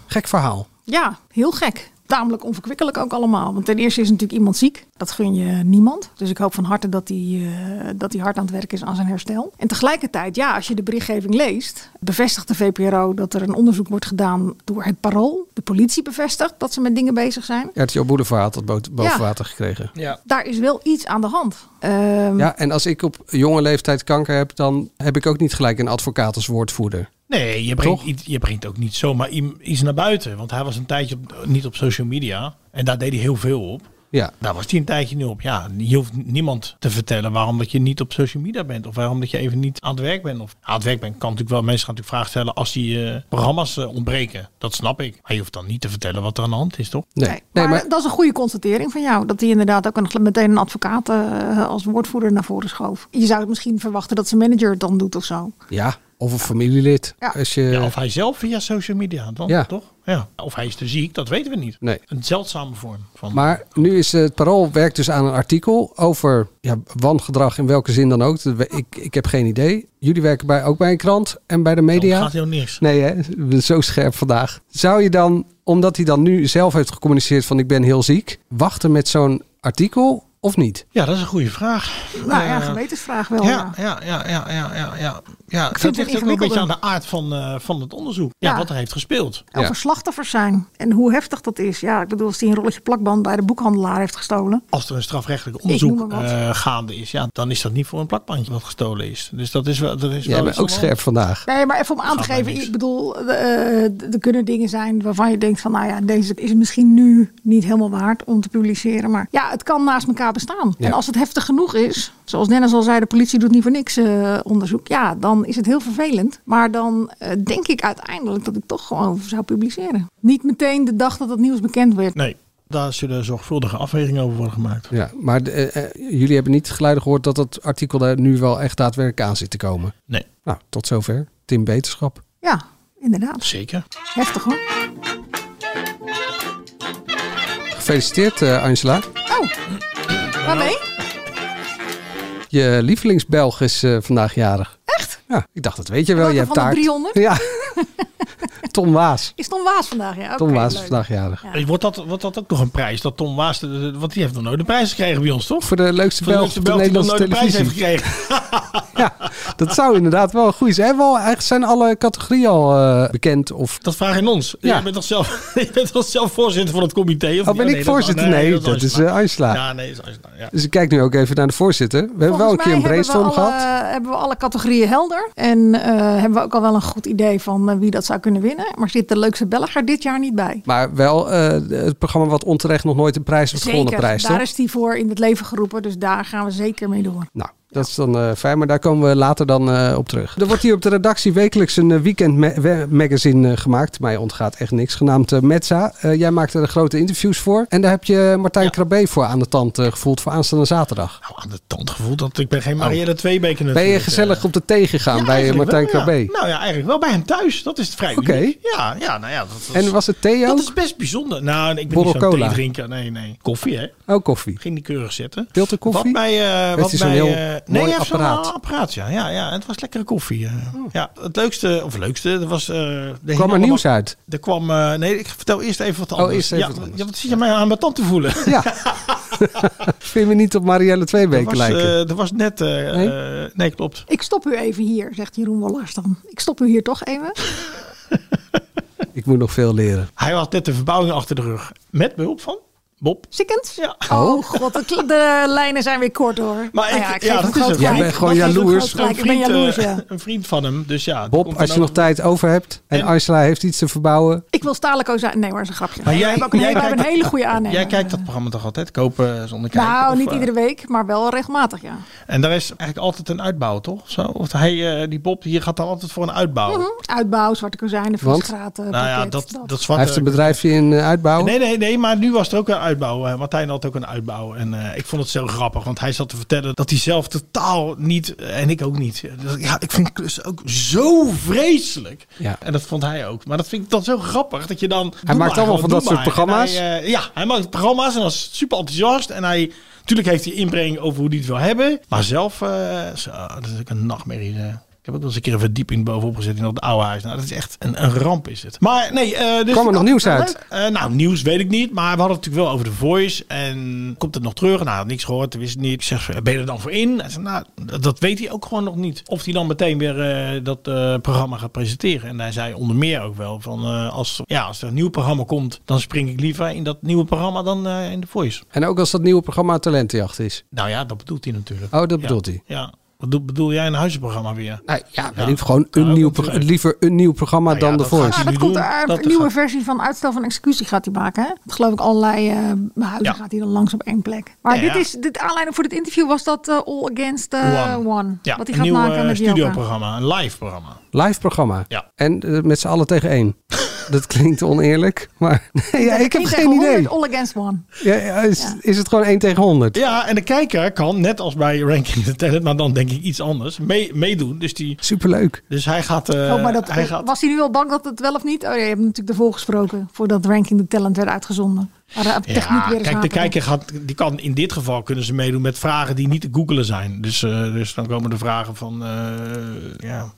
Gek verhaal.
Ja, heel gek. Tamelijk onverkwikkelijk ook allemaal. Want ten eerste is natuurlijk iemand ziek. Dat gun je niemand. Dus ik hoop van harte dat hij, eh, dat hij hard aan het werk is aan zijn herstel. En tegelijkertijd, ja, als je de berichtgeving leest, bevestigt de VPRO dat er een onderzoek wordt gedaan door het parool. De politie bevestigt dat ze met dingen bezig zijn.
RTO Boulevard had dat bo- boven
Ja.
water gekregen.
Ja.
Daar is wel iets aan de hand. Ehm,
Ja, en als ik op jonge leeftijd kanker heb, dan heb ik ook niet gelijk een advocaat als woordvoerder.
Nee, je brengt, iets- je brengt ook niet zomaar i- iets naar buiten. Want hij was een tijdje op- niet op social media. En daar deed hij heel veel op.
Ja,
Daar was hij een tijdje niet op. Ja, je hoeft niemand te vertellen waarom dat je niet op social media bent. Of waarom dat je even niet aan het werk bent. Of aan het werk bent kan natuurlijk wel. Mensen gaan natuurlijk vragen stellen als die eh, programma's eh, ontbreken. Dat snap ik. Maar je hoeft dan niet te vertellen wat er aan de hand is, toch?
nee.
Nee, maar, dat is een goede constatering van jou. Dat hij inderdaad ook een, meteen een advocaat eh, als woordvoerder naar voren schoof. Je zou het misschien verwachten dat zijn manager het dan doet of zo.
ja, of een familielid.
Ja.
Als je,
Ja, of hij zelf via social media, dan,
Eh. Ja.
toch? Ja. Of hij is te ziek, dat weten we niet.
Nee.
Een zeldzame vorm van.
Maar nu is eh, het parool werkt dus aan een artikel over ja, wangedrag in welke zin dan ook. Dat we- Ik, ik heb geen idee. Jullie werken bij, ook bij een krant en bij de
Dan
media.
Oh, gaat heel niks.
Nee, hè? Ik ben zo scherp vandaag. Zou je dan, omdat hij dan nu zelf heeft gecommuniceerd van ik ben heel ziek, wachten met zo'n artikel of niet?
Ja, dat is een goede vraag.
Nou ja,
Eh,
gewetensvraag wel.
Ja,
Ja.
ja, ja, ja, ja, ja, ja. ja
Ik vind
dat
het
ligt ook wel een beetje aan
ingewikkelder.
de aard van, eh, van het onderzoek. Ja,
Ja.
wat er heeft gespeeld.
Over slachtoffers zijn en hoe heftig dat is. Ja, ik bedoel, als hij een rolletje plakband bij de boekhandelaar heeft gestolen.
Als er een strafrechtelijk
noem
onderzoek
maar wat.
eh, gaande is, ja, dan is dat niet voor een plakbandje wat gestolen is. Dus dat is wel. Dat is
Jij
wel
bent
iets
ook
aan de
scherp vandaag.
Nee, maar even om aan te
Gaat mij
geven.
niks.
Ik bedoel, eh, eh, er kunnen dingen zijn waarvan je denkt van... nou ja, deze is misschien nu niet helemaal waard om te publiceren. Maar ja, het kan naast elkaar bestaan.
Ja.
En als het heftig genoeg is, zoals Dennis al zei... de politie doet niet voor niks eh, onderzoek. Ja, dan is het heel vervelend. Maar dan eh, denk ik uiteindelijk dat ik toch gewoon zou publiceren. Niet meteen de dag dat het nieuws bekend werd.
hand. Nee, daar zullen zorgvuldige afwegingen over worden gemaakt.
Ja, maar eh, eh, jullie hebben niet geluiden gehoord dat dat artikel daar nu wel echt daadwerkelijk aan zit te komen.
Nee,
Nou, tot zover. Tim Beterschap.
Ja, inderdaad.
zeker.
Heftig hoor.
Gefeliciteerd, eh, Angela.
Oh, waarmee?
Je lievelingsbelg is eh, vandaag jarig. Echt? Ja, ik dacht, dat weet je wel.
Welke
Je hebt
van
taart.
de 300?
Ja. Tom Waas.
Is Tom Waas vandaag? Ja,
Tom
oké,
Waas is
leuk.
vandaag jarig.
Ja.
Eh, Wordt, dat, wordt dat ook nog een prijs? Dat Tom Waas, de- de- want die heeft nog nooit een prijs gekregen bij ons, toch?
Voor de leukste
Voor de
Belg
leukste
op de
Belg die nog
Nederlandse
nooit een prijs heeft
televisie.
gekregen.
Ja, dat zou inderdaad wel een goeie zijn. Hebben we al- Eigenlijk zijn alle categorieën al eh, bekend. Of...
Dat vraag je aan ons.
Ja.
Je bent toch zelf, je bent toch zelf voorzitter van het comité? Of
Oh,
niet?
ben ik
dat-
voorzitter? Nee, dat is
Angela.
eh, Angela.
Ja, nee, dat is Angela, ja.
Dus ik kijk nu ook even naar de voorzitter. We hebben wel een
Volgens
keer een
mij hebben we
brainstorm
alle-
gehad.
hebben we alle categorieën helder. En eh, hebben we ook al wel een goed idee van eh, wie dat zou kunnen winnen. Maar zit de leukste Belger dit jaar niet bij?
Maar wel eh, het programma wat onterecht nog nooit een prijs heeft gewonnen. Prijs,
daar
toch?
is die voor in het leven geroepen. Dus daar gaan we zeker mee door.
Nou, dat is dan eh, fijn, maar daar komen we later dan eh, op terug. Er wordt hier op de redactie wekelijks een eh, weekendmagazine eh, gemaakt. Mij ontgaat echt niks, genaamd eh, Metza. Eh, jij maakt er grote interviews voor. En daar heb je Martijn Krabbe voor aan de tand eh, gevoeld voor aanstaande zaterdag.
Nou, aan de tand gevoeld. Dat ik ben geen Marielle Tweebeker
Oh. Ben
natuurlijk. eh.
je gezellig op de thee gegaan
Ja,
bij eh,
eigenlijk
Martijn
wel, ja.
Krabbe?
Nou ja, eigenlijk wel bij hem thuis. Dat is het vrij
Oké.
uniek. Ja, ja, nou ja. Dat, dat
En was het thee
dat
ook?
is best bijzonder. Nou, ik ben
Borrel
niet zo'n
cola.
thee drinken. Nee, nee. Koffie, hè?
Oh, koffie.
Ging die keurig zitten.
Filter koffie?
Wat bij... eh,
Heeft
wat
hij
bij
zo'n heel
eh, nee,
mooi
hij heeft zo'n
apparaat? Oh.
apparaat, ja. ja, ja. Het was lekkere koffie. eh. Ja, het leukste... Of leukste, dat was... eh, er hing
Kwam er
allemaal-
nieuws uit?
Er kwam... eh, nee, ik vertel eerst even wat anders.
Oh, eerst even
ja,
wat anders.
Ja, wat zit je mij aan mijn tand te voelen?
Ja. Vind je me niet op Marielle
Er
Tweebeek
was,
lijken?
eh, er was net... eh,
Nee?
eh, nee, klopt.
Ik stop u even hier, zegt Jeroen Wollers dan. Ik stop u hier toch even.
Ik moet nog veel leren.
Hij had net de verbouwing achter de rug. Met behulp van Bob.
Sikkend?
Ja.
Oh god, de, kl- de lijnen zijn weer kort hoor.
Maar
Nou
ik-
ja, ik
ja,
geef hem
dat is
groot
het. Jij
gelijk.
bent gewoon
Ik geef hem
jaloers.
groot gelijk. Ik ben
eh,
jaloers, ja.
een vriend van hem. Dus ja, die
Bob,
komt
als je
dan
nog
ook-
tijd over hebt en,
En-
Angela heeft iets te verbouwen,
Ik wil Stalico zijn. Nee, maar dat is een grapje.
Maar
Nee,
jij-
we hebben ook een,
jij
hele- we hebben een
kijkt-
hele goede aannemer.
Jij kijkt dat programma toch altijd? Kopen zonder kijken?
Nou,
of,
niet
eh,
iedere week, maar wel regelmatig, ja.
En daar is eigenlijk altijd een uitbouw, toch? Zo? Of hij, eh, die Bob, hier gaat dan altijd voor een uitbouw.
Uitbouw, Mhm. zwarte kozijnen,
Oh. Want?
vriesgraten,
Nou ja,
pakket,
dat, dat
hij
zwarte...
heeft een bedrijfje in eh, uitbouwen.
Nee, nee, nee, maar nu was er ook een uitbouw. Eh, Martijn had ook een uitbouw. En eh, ik vond het zo grappig, want hij zat te vertellen dat hij zelf totaal niet, eh, en ik ook niet. Dus Ja, ik vind klussen ook zo vreselijk.
Ja.
En dat vond hij ook. Maar dat vind ik dan zo grappig, dat je dan... doe
maakt
maar,
allemaal
gewoon,
van
doe
dat soort
maar. En
programma's?
hij, eh, ja, hij maakt programma's en was super enthousiast. En hij, natuurlijk heeft hij inbreng over hoe hij het wil hebben. Maar zelf, eh, zo, dat is ook een nachtmerrie. eh. Ik heb ook wel eens een keer een verdieping bovenop gezet in dat oude huis. Nou, dat is echt een, een ramp is het. Maar nee... eh, dus
Kwam er nog nieuws uit?
Eh, nou, nieuws weet ik niet. Maar we hadden het natuurlijk wel over de Voice. En komt het nog terug? Nou, had niks gehoord. Er wist niet. Ik zeg, ben je er dan voor in? Hij zei, nou, dat- dat weet hij ook gewoon nog niet. Of hij dan meteen weer eh, dat eh, programma gaat presenteren. En hij zei onder meer ook wel van... eh, als, ja, als er een nieuw programma komt, dan spring ik liever in dat nieuwe programma dan eh, in de Voice.
En ook als dat nieuwe programma Talentenjacht is.
Nou ja, dat bedoelt hij natuurlijk.
Oh, dat bedoelt hij.
Ja. Wat doe- bedoel jij een huizenprogramma weer?
Nou ja, weet
Ja.
ik, gewoon een
Ja,
nieuw,
natuurlijk.
pro- liever een nieuw programma
Nou ja,
dan de
dat gaat
Voice.
hij
Maar dat
nu
komt
doen,
eh,
dat
een nieuwe
gaat-
versie van uitstel van executie gaat hij maken. Hè? Want geloof ik allerlei eh, huizen
Ja.
gaat hij dan langs op één plek. Maar
Ja,
dit
ja.
is, dit aanleiding voor dit interview was dat eh, All Against eh, One.
Ja,
Wat hij
een
gaat
nieuw
maken
eh,
met yoga.
studioprogramma, een live programma.
Live programma.
Ja.
En eh, met z'n allen tegen één. dat klinkt oneerlijk, maar nee, ja, ik heb
Niet
geen
tegen
idee.
100, All Against One.
Ja, ja, is,
Ja.
is het gewoon één tegen honderd?
Ja, en de kijker kan, net als bij Ranking the Talent, maar dan denk ik iets anders, mee, meedoen. Dus, die,
Superleuk.
dus hij gaat... eh,
oh, maar dat,
hij gaat
Was hij nu al bang dat het wel of niet? Oh, ja, je hebt hem natuurlijk ervoor gesproken voordat Ranking the Talent werd uitgezonden. Maar de techniek
ja,
weer eens
kijk, de
haperde.
kijker gaat, die kan in dit geval kunnen ze meedoen met vragen die niet te googelen zijn. Dus, eh, dus dan komen de vragen van, eh, ja,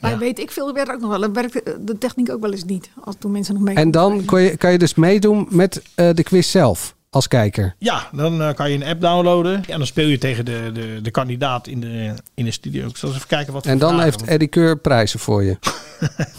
Maar
Ja.
weet ik veel, er werd ook nog wel. er Werkte eh, de techniek ook wel eens niet. Als toen mensen nog mee.
En dan kon je, kan je dus meedoen met eh, de quiz zelf als kijker.
Ja, dan eh, kan je een app downloaden. En dan speel je tegen de, de, de kandidaat in de, in de studio. Ik zal eens even kijken wat voor
En dan
vragen,
heeft
want-
Eddie Keur prijzen voor je.
Nou,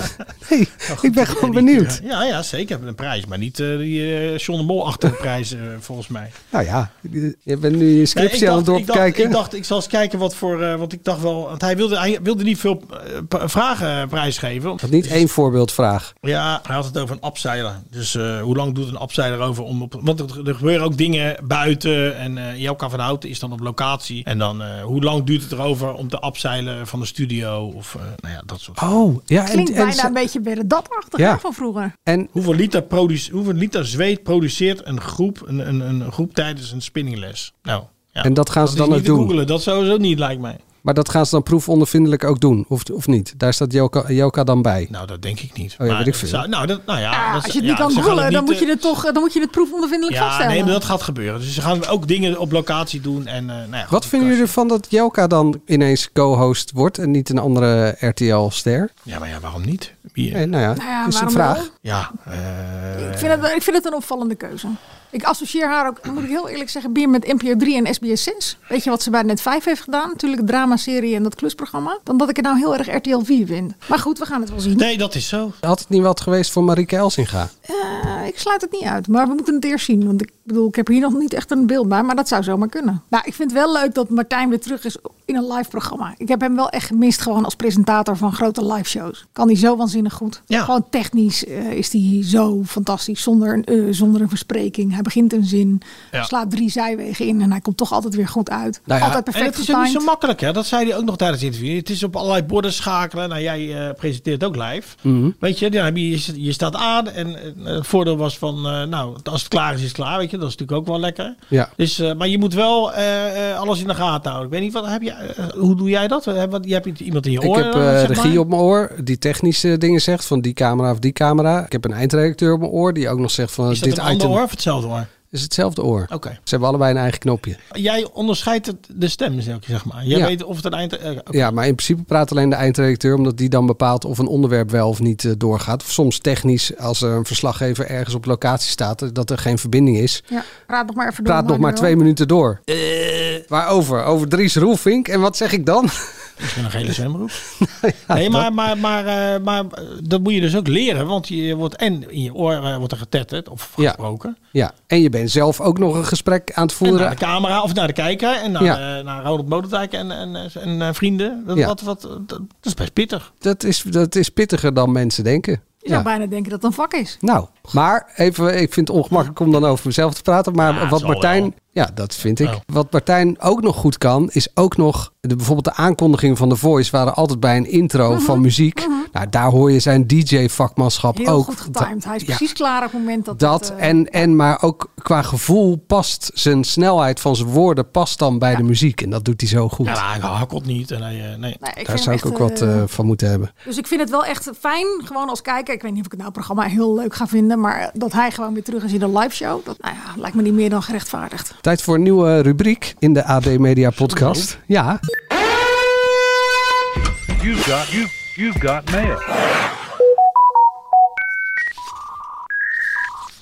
hey, ik ben gewoon benieuwd.
Ja, ja, zeker. Een prijs. Maar niet eh, die eh John de Mol achter prijs, eh, volgens mij.
Nou ja, je bent nu je
Nee,
scriptie aan het
ik, dacht,
doorkijken.
ik dacht, ik zal eens kijken wat voor... eh, want ik dacht wel... Want hij wilde, hij wilde niet veel eh, p- vragen eh, prijsgeven.
Dat niet één voorbeeldvraag.
Ja, hij had het over een abseiler. Dus eh, hoe lang doet een abseiler over om op... Want er, er gebeuren ook dingen buiten. En eh Jelka van Houten is dan op locatie. En dan, eh, hoe lang duurt het erover om te abseilen van de studio? Of, eh, nou ja, dat soort...
Oh, ja.
Klinkt
En,
bijna een
en,
beetje bij de dapachtig
Ja.
hè, van vroeger.
en
Hoeveel liter, produce, hoeveel liter zweet produceert een groep, een, een, een groep tijdens een spinningles? Nou, ja.
En dat gaan ze
is
dan
niet
ook
te
doen?
googelen. Dat sowieso niet, lijkt mij.
Maar dat gaan ze dan proefondervindelijk ook doen, of, of niet? Daar staat Joka, Joka dan bij.
Nou, dat denk ik niet.
Oh ja, weet ik
dat
veel.
zou- nou, dat, nou ja, dat-
Ja, Ah, als je het
ja,
niet kan
ze gaan
googelen,
het
dan
niet,
moet je
eh,
het toch, dan moet je het proefondervindelijk
Ja,
vaststellen.
nee, maar dat gaat gebeuren. Dus ze gaan ook dingen op locatie doen. En, eh, nou ja,
Wat
goed,
vinden
als-
jullie ervan dat Joka dan ineens co-host wordt en niet een andere RTL-ster?
Ja, maar ja, waarom niet? Wie, eh,
Nee, nou ja,
Nou ja,
is een
waarom
vraag.
wel?
Ja, eh,
Ik vind, het, ik vind het een opvallende keuze. Ik associeer haar ook, moet ik heel eerlijk zeggen, meer met NPO 3 en SBS 6. Weet je wat ze bij Net 5 heeft gedaan? Natuurlijk de dramaserie en dat klusprogramma. Dan dat ik het nou heel erg RTL 4 vind. Maar goed, we gaan het wel zien.
nee, dat is zo.
Had het niet wat geweest voor Marieke Elsinga?
Eh, ik sluit het niet uit, maar we moeten het eerst zien. Want ik bedoel, ik heb hier nog niet echt een beeld bij, maar dat zou zomaar kunnen. Nou, ik vind het wel leuk dat Martijn weer terug is in een live programma. Ik heb hem wel echt gemist gewoon als presentator van grote live shows. Kan hij zo waanzinnig goed.
Ja.
Gewoon technisch eh, is hij zo fantastisch, zonder een eh, zonder een verspreking. Hij begint een zin,
Ja.
slaat drie zijwegen in en hij komt toch altijd weer goed uit.
Nou ja,
altijd
En
perfect
het is ook niet zo
getimed.
makkelijk, hè? Dat zei hij ook nog tijdens het interview. Het is op allerlei borden schakelen. Nou, jij eh, presenteert ook live.
Mhm.
Weet je, dan heb je, je staat aan. En eh, het voordeel was van, eh, nou, als het klaar is, is het klaar. Weet je, dat is natuurlijk ook wel lekker.
Ja.
Dus, eh, maar je moet wel eh, eh, alles in de gaten houden. Ik weet niet, wat heb je, eh, hoe doe jij dat? Heb, wat, je hebt iemand in je
Ik
oor?
heb eh,
zeg maar?
regie op mijn oor die technische dingen zegt van die camera of die camera. Ik heb een eindredacteur op mijn oor die ook nog zegt van
Is dat
dit
een ander
item
oor Oh. of hetzelfde oor?
is hetzelfde oor.
Oké.
Ze hebben allebei een eigen knopje.
Jij onderscheidt het, de stem, zeg maar. Jij
Ja.
weet of het een eind... eh, oké.
Ja, maar in principe praat alleen de eindredacteur, omdat die dan bepaalt of een onderwerp wel of niet eh, doorgaat. Of soms technisch, als er een verslaggever ergens op locatie staat, eh, dat er geen verbinding is.
Ja, raad nog maar even door,
Praat nog maar
Manuel.
twee minuten door. Waarover? Over Dries Roelvink. En wat zeg ik dan?
Misschien een gele zwembroek. nee, maar, maar, maar, eh, maar eh, dat moet je dus ook leren. Want je wordt en in je oor eh, wordt er getetterd of
Ja.
gesproken.
Ja, en je bent zelf ook nog een gesprek aan het
En nou,
voeren.
naar de camera of naar de kijker. En naar,
Ja.
eh, naar Ronald Modendijk en, en, eh, en eh, vrienden. Dat,
Ja.
wat, wat, dat, dat is best pittig.
Dat, is, dat is pittiger dan mensen denken.
Je zou
Ja.
bijna denken dat het een vak is.
Nou, maar even, ik vind het ongemakkelijk om dan over mezelf te praten. Maar
Ja, het
wat
zal wel.
Martijn. Ja, dat vind ik.
Oh.
Wat Martijn ook nog goed kan, is ook nog. De, bijvoorbeeld de aankondigingen van The Voice waren altijd bij een intro
Mhm,
van muziek. Nou, daar hoor je zijn DJ-vakmanschap
Heel
ook.
goed getimed. Hij is
Ja,
precies klaar op het moment dat
Dat
het, eh,
en, en maar ook qua gevoel past zijn snelheid van zijn woorden past dan bij de muziek. En dat doet hij zo goed.
Ja, nou, hij hakkelt niet. En hij, eh, nee.
nee, ik
daar
vind
zou ik
hem
ook
echt,
wat
eh,
eh, van moeten hebben.
Dus ik vind het wel echt fijn, gewoon als kijker. Ik weet niet of ik het nou programma heel leuk ga vinden, maar dat hij gewoon weer terug is in een live show, dat nou ja, lijkt me niet meer dan gerechtvaardigd.
Tijd voor een eh, nieuwe rubriek in de AD Media Podcast. Ja.
You've got you you've got mail.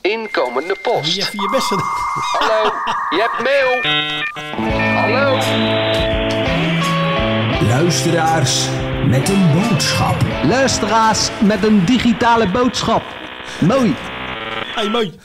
Inkomende post.
Je je best gedaan.
Hallo, je hebt mail. Hallo.
Luisteraars met een boodschap. Luisteraars met een digitale boodschap. Mooi.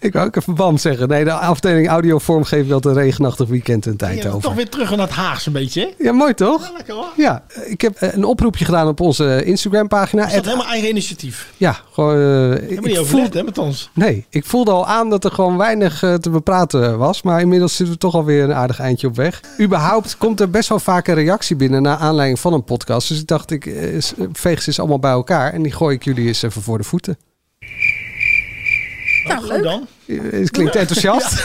Ik wou ook even band zeggen. Nee, de afdeling audio vormgeeft wel een regenachtig weekend in
Je bent
Eindhoven.
toch weer terug aan het Haagse een beetje. hè?
Ja, mooi toch?
Lekker hoor.
Ja, ik heb eh, een oproepje gedaan op onze Instagram-pagina.
Is dat
Het-
helemaal eigen initiatief?
Ja, gewoon. eh, ik
Hebben we niet overlegd hè, met ons?
Nee, ik voelde al aan dat er gewoon weinig eh, te bepraten was. Maar inmiddels zitten we toch alweer een aardig eindje op weg. Überhaupt komt er best wel vaak een reactie binnen naar aanleiding van een podcast. Dus ik dacht, ik eh, s- veeg ze eens allemaal bij elkaar. En die gooi ik jullie eens even voor de voeten.
Nou, leuk.
dan.
Eh, Het klinkt enthousiast.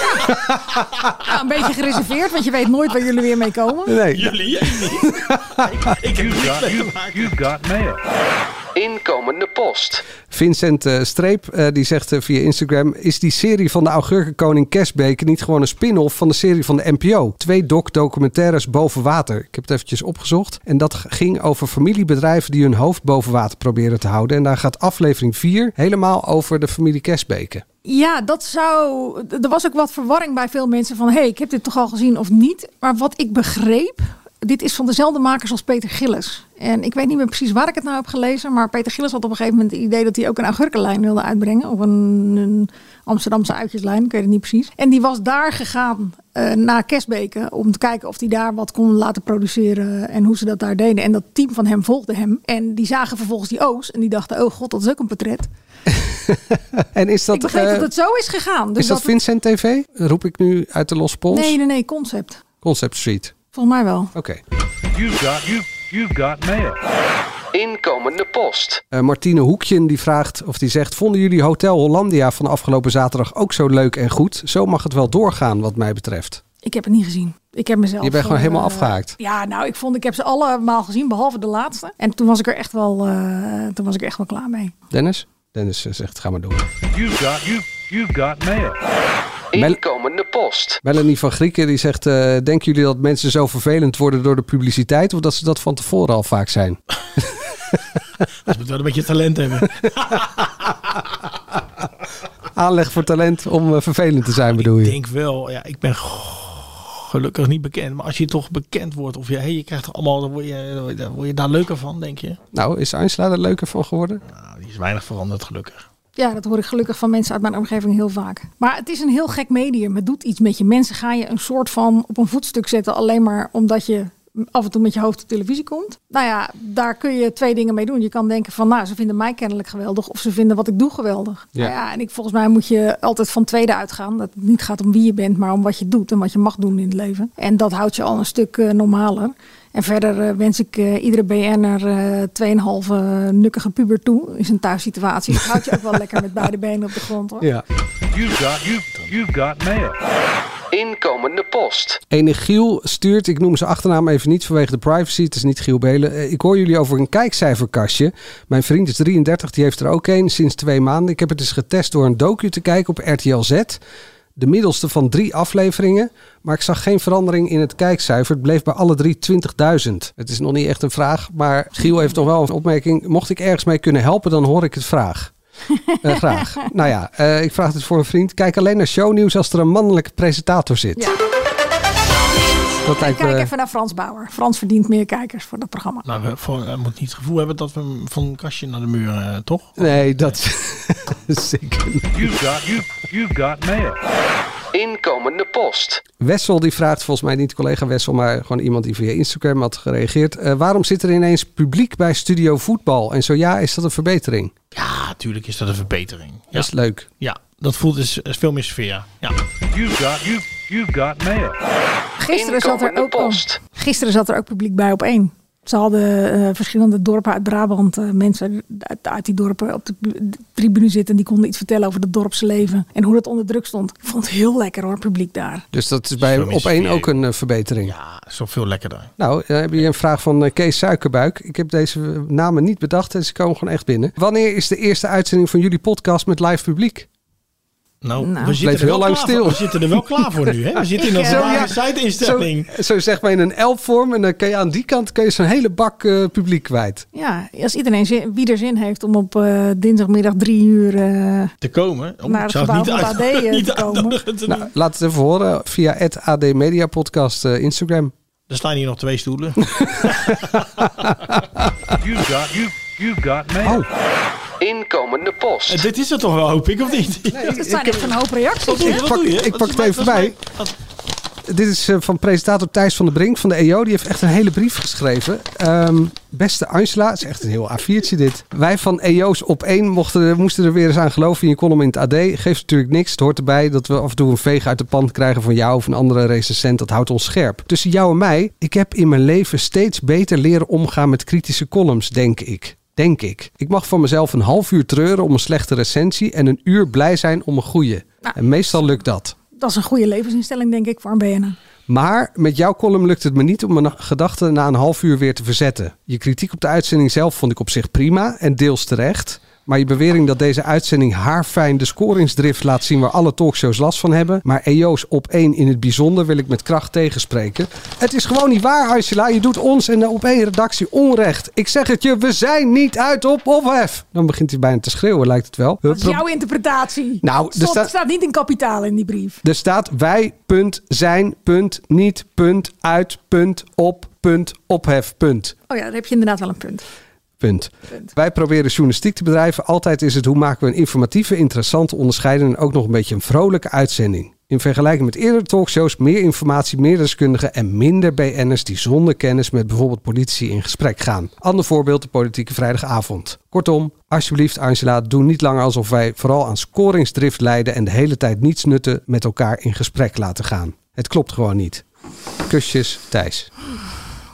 Nou, een beetje gereserveerd, want je weet nooit waar jullie weer mee komen.
Nee.
Jullie?
ik heb you've, got, you, you've got mail.
Inkomende post.
Vincent eh, Streep eh, die zegt eh, via Instagram: Is die serie van de Augurkenkoning Kersbeek niet gewoon een spin-off van de serie van de NPO? Twee doc-documentaires boven water. Ik heb het eventjes opgezocht. En dat g- ging over familiebedrijven die hun hoofd boven water proberen te houden. En daar gaat aflevering 4 helemaal over de familie Kersbeken.
Ja, dat zou. Er was ook wat verwarring bij veel mensen van: hé, hey, ik heb dit toch al gezien of niet. Maar wat ik begreep, dit is van dezelfde makers als Peter Gillis. En ik weet niet meer precies waar ik het nou heb gelezen. Maar Peter Gillis had op een gegeven moment het idee dat hij ook een augurkenlijn wilde uitbrengen. Of een, een Amsterdamse uitjeslijn, ik weet het niet precies. En die was daar gegaan eh, naar Kesbeke om te kijken of hij daar wat kon laten produceren en hoe ze dat daar deden. En dat team van hem volgde hem. En die zagen vervolgens die O's en die dachten, oh god, dat is ook een portret.
En is dat.
Ik begreep
eh,
dat het zo is gegaan. Dus
is dat,
dat het-
Vincent TV? Roep ik nu uit de losse pols?
Nee, nee, nee, concept.
Concept Street.
Volgens mij wel.
Oké.
You've got you you've got mail.
Inkomende post.
Eh, Martine Hoekjen die vraagt of die zegt: Vonden jullie Hotel Hollandia van afgelopen zaterdag ook zo leuk en goed? Zo mag het wel doorgaan, wat mij betreft.
Ik heb het niet gezien. Ik heb mezelf.
Je bent gewoon
eh,
helemaal afgehaakt.
Ja, nou, ik vond, ik heb ze allemaal gezien, behalve de laatste. En toen was ik er echt wel, eh, toen was ik er echt wel klaar mee.
Dennis? Dennis eh, zegt: Ga maar door.
You've got you you've got mail.
Inkomende post.
Melanie van Grieken die zegt: eh, Denken jullie dat mensen zo vervelend worden door de publiciteit? Of dat ze dat van tevoren al vaak zijn?
Ze moeten wel een beetje talent hebben.
Aanleg voor talent om eh, vervelend te zijn, bedoel
Ik
je?
denk wel, ja, ik ben g- gelukkig niet bekend. Maar als je toch bekend wordt of je, hey, je krijgt toch allemaal, dan word je, dan word je daar leuker van, denk je.
Nou, is Einstein er leuker van geworden?
Nou, die is weinig veranderd, gelukkig.
Ja, dat hoor ik gelukkig van mensen uit mijn omgeving heel vaak. Maar het is een heel gek medium. Het doet iets met je. Mensen ga je een soort van op een voetstuk zetten, alleen maar omdat je af en toe met je hoofd op televisie komt. Nou ja, daar kun je twee dingen mee doen. Je kan denken van, nou, ze vinden mij kennelijk geweldig, of ze vinden wat ik doe geweldig.
Ja.
Nou ja, en ik volgens mij moet je altijd van tweede uitgaan. Dat het niet gaat om wie je bent, maar om wat je doet en wat je mag doen in het leven. En dat houdt je al een stuk eh, normaler. En verder eh, wens ik eh, iedere BN'er eh 2,5 eh, nukkige puber toe in zijn thuissituatie. Het houdt je ook wel lekker met beide benen op de grond hoor.
Ja.
You've got you you've got mail.
Inkomende post.
Enig Giel stuurt, ik noem zijn achternaam even niet vanwege de privacy, het is niet Giel Belen. Eh, Ik hoor jullie over een kijkcijferkastje. Mijn vriend is 33, die heeft er ook een sinds twee maanden. Ik heb het eens getest door een docu te kijken op RTL Z. De middelste van drie afleveringen. Maar ik zag geen verandering in het kijkcijfer. Het bleef bij alle drie 20.000. Het is nog niet echt een vraag, maar Giel heeft nog wel een opmerking. Mocht ik ergens mee kunnen helpen, dan hoor ik het vraag. Eh, graag. Nou ja, eh, ik vraag het voor een vriend. Kijk alleen naar shownieuws als er een mannelijke presentator zit.
Ja.
Dat
En
lijkt eh, me-
kijk even naar Frans Bauer. Frans verdient meer kijkers voor dat programma.
Nou, we, voor, hij moet niet het gevoel hebben dat we hem van een kastje naar de muur, eh, toch?
Nee, dat zeker niet.
You've got you you've got mail.
Inkomende post.
Wessel die vraagt, volgens mij niet collega Wessel, maar gewoon iemand die via Instagram had gereageerd. Eh, waarom zit er ineens publiek bij Studio Voetbal? En zo ja, is dat een verbetering?
Ja, natuurlijk is dat een verbetering. Ja,
Dat is leuk.
ja dat voelt is, is veel meer sfeer. Ja.
You've got you you've got mail.
Gisteren zat, er
Inkomende
ook, al-
post.
gisteren zat er ook publiek bij op één. Ze hadden eh, verschillende dorpen uit Brabant, eh, mensen uit, uit die dorpen op de, bu- de tribune zitten. En die konden iets vertellen over het dorpse leven en hoe dat onder druk stond. Ik vond het heel lekker hoor, publiek daar.
Dus dat is bij
Zo is
op één
het weer.
ook een eh, verbetering.
Ja, zo veel lekkerder.
Nou, dan heb je een vraag van eh, Kees Suikerbuik. Ik heb deze eh, namen niet bedacht en ze komen gewoon echt binnen. Wanneer is de eerste uitzending van jullie podcast met live publiek?
Nou,
Nou.
we,
Bleef
zitten er
heel
wel
lang
klaar
stil.
Voor. we zitten er wel klaar voor nu. Hè? We zitten in een
Zo, ja.
rare site-instelling.
Zo, zo zeg maar in een L-vorm. En dan kun je aan die kant kun je zo'n hele bak eh, publiek kwijt.
Ja, als iedereen zin, wie er zin heeft om op eh, dinsdagmiddag drie uur eh,
Te komen. Oh,
naar
ik
het
zou
gebouw
het niet
van het AD eh,
uit-
te
niet
komen.
Nou, laat het even horen via het AD Media Podcast eh, Instagram.
Er staan hier nog twee stoelen.
You got, you, you got mail.
Inkomende post.
Eh, Dit is het toch wel, hoop ik, of niet?
Het zijn echt een hoop reacties.
Wat
hè?
doe
pak-
je?
ik
Wat
pak
is
het
mijn-
even
wat is
bij.
mijn- wat-
Dit is eh, van presentator Thijs van der Brink van de EO. Die heeft echt een hele brief geschreven. Ehm, beste Angela, het is echt een heel A4'tje dit. Wij van EO's op één mochten, er- moesten er weer eens aan geloven in je column in het AD. Geeft natuurlijk niks. Het hoort erbij dat we af en toe een veeg uit de pan krijgen van jou of een andere recensent. Dat houdt ons scherp. Tussen jou en mij, ik heb in mijn leven steeds beter leren omgaan met kritische columns, denk ik. Denk ik. Ik mag van mezelf een half uur treuren om een slechte recensie en een uur blij zijn om een goede. En meestal lukt dat.
Dat is een goede levensinstelling, denk ik, voor een BNN.
Maar met jouw column lukt het me niet om mijn gedachten na een half uur weer te verzetten. Je kritiek op de uitzending zelf vond ik op zich prima en deels terecht. Maar je bewering dat deze uitzending haarfijn de scoringsdrift laat zien waar alle talkshows last van hebben. Maar EO's op één in het bijzonder wil ik met kracht tegenspreken. Het is gewoon niet waar, Angela. Je doet ons en de op één redactie onrecht. Ik zeg het je, we zijn niet uit op ophef. Dan begint hij bijna te schreeuwen, lijkt het wel.
Dat is jouw interpretatie.
Nou, er
Het stond-
staat-
staat niet in kapitaal in die brief.
Er staat wij, punt, zijn, punt, niet, punt, uit, punt, op, punt, ophef, punt.
Oh ja, daar heb je inderdaad wel een punt.
Punt. Wij proberen journalistiek te bedrijven. Altijd is het hoe maken we een informatieve, interessante, onderscheidende en ook nog een beetje een vrolijke uitzending. In vergelijking met eerdere talkshows, meer informatie, meer deskundigen en minder BN'ers die zonder kennis met bijvoorbeeld politici in gesprek gaan. Ander voorbeeld, de politieke vrijdagavond. Kortom, alsjeblieft Angela, doe niet langer alsof wij vooral aan scoringsdrift lijden en de hele tijd niets nutten met elkaar in gesprek laten gaan. Het klopt gewoon niet. Kusjes, Thijs.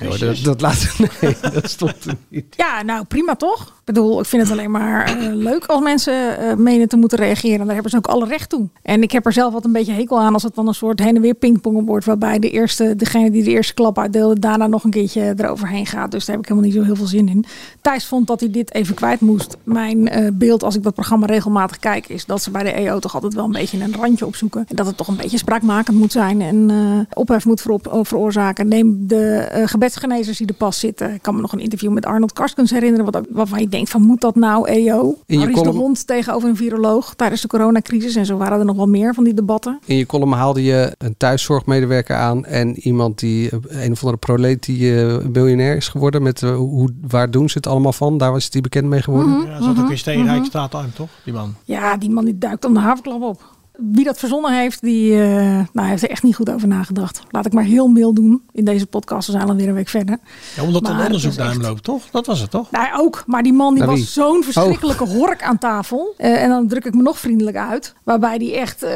Oh, dat, dat laat... Nee, dat stond er niet.
Ja, nou prima toch? Ik bedoel, ik vind het alleen maar eh, leuk als mensen eh, menen te moeten reageren. Daar hebben ze ook alle recht toe. En ik heb er zelf wat een beetje hekel aan als het dan een soort heen en weer pingpongen wordt. Waarbij de eerste, degene die de eerste klap uitdeelde, daarna nog een keertje eroverheen gaat. Dus daar heb ik helemaal niet zo heel veel zin in. Thijs vond dat hij dit even kwijt moest. Mijn eh, beeld als ik dat programma regelmatig kijk is dat ze bij de EO toch altijd wel een beetje een randje opzoeken. En dat het toch een beetje spraakmakend moet zijn en eh, ophef moet voorop, veroorzaken. Neem de eh, gebedsgenezers die er pas zitten. Ik kan me nog een interview met Arnold Karskens herinneren. Wat, ook- waarvan je denkt van moet dat nou EO?
In je
Maurice de
column-
Hond tegenover een viroloog tijdens de coronacrisis. En zo waren er nog wel meer van die debatten.
In je column haalde je een thuiszorgmedewerker aan en iemand die eh, een of andere proleet die eh miljonair is geworden. Met eh, hoe, waar doen ze het allemaal van? Daar was hij bekend mee geworden.
Mhm.
Ja, hij zat ook in
Mhm.
Steenrijkstraat aan, toch? Die man.
Ja, die man die duikt om de havenklap op. Wie dat verzonnen heeft, die eh, nou, heeft er echt niet goed over nagedacht. Laat ik maar heel mild doen in deze podcast. We zijn alweer een week verder.
Ja, omdat er
Maar
een onderzoek
het is
naar hem
echt-
loopt, toch? Dat was het, toch?
Nee, ook. Maar die man die
Naar wie?
was
Oh.
zo'n verschrikkelijke hork aan tafel. Eh, en dan druk ik me nog vriendelijk uit. Waarbij die echt eh,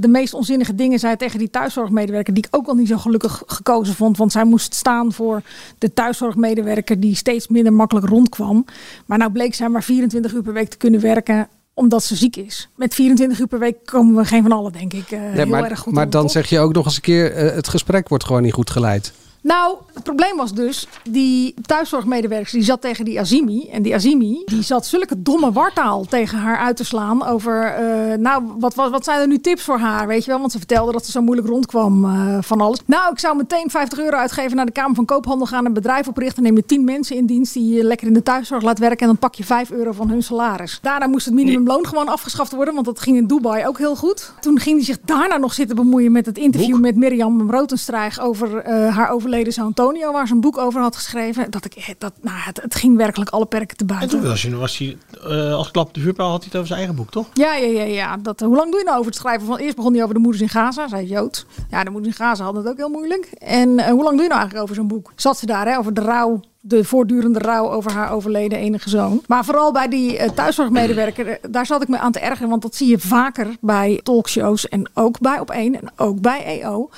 de meest onzinnige dingen zei tegen die thuiszorgmedewerker. Die ik ook al niet zo gelukkig gekozen vond. Want zij moest staan voor de thuiszorgmedewerker die steeds minder makkelijk rondkwam. Maar nou bleek zij maar 24 uur per week te kunnen werken omdat ze ziek is. Met 24 uur per week komen we geen van allen, denk ik. eh,
Ja,
heel
maar
erg goed
maar
om,
dan
toch?
zeg je ook nog eens een keer, eh, het gesprek wordt gewoon niet goed geleid.
Nou, het probleem was dus, die thuiszorgmedewerker die zat tegen die Azimi. En die Azimi die zat zulke domme wartaal tegen haar uit te slaan over... eh, nou, wat, wat, wat zijn er nu tips voor haar, weet je wel? Want ze vertelde dat ze zo moeilijk rondkwam eh, van alles. Nou, ik zou meteen 50 euro uitgeven naar de Kamer van Koophandel gaan... een bedrijf oprichten, neem je 10 mensen in dienst... die je lekker in de thuiszorg laat werken... en dan pak je 5 euro van hun salaris. Daarna moest het minimumloon gewoon afgeschaft worden... want dat ging in Dubai ook heel goed. Toen ging hij zich daarna nog zitten bemoeien met het interview... met Mirjam Rotenstrijg over eh, haar overleden zoon Antonio... waar ze een boek over had geschreven. Dat ik, eh, dat, nou, het, het ging werkelijk alle perken te
En toen
buiten.
was hij, was hij eh, als klap op de vuurpijl had hij het over zijn eigen boek, toch?
Ja, ja, ja. ja. Dat, hoe lang doe je nou over het schrijven? Van, eerst begon hij over de moeders in Gaza, zei Jood. Ja, de moeders in Gaza hadden het ook heel moeilijk. En eh, hoe lang doe je nou eigenlijk over zo'n boek? Zat ze daar, hè, over de rouw, de voortdurende rouw over haar overleden enige zoon. Maar vooral bij die eh, thuiszorgmedewerker, eh, daar zat ik me aan te ergeren. Want dat zie je vaker bij talkshows en ook bij Op1 en ook bij EO.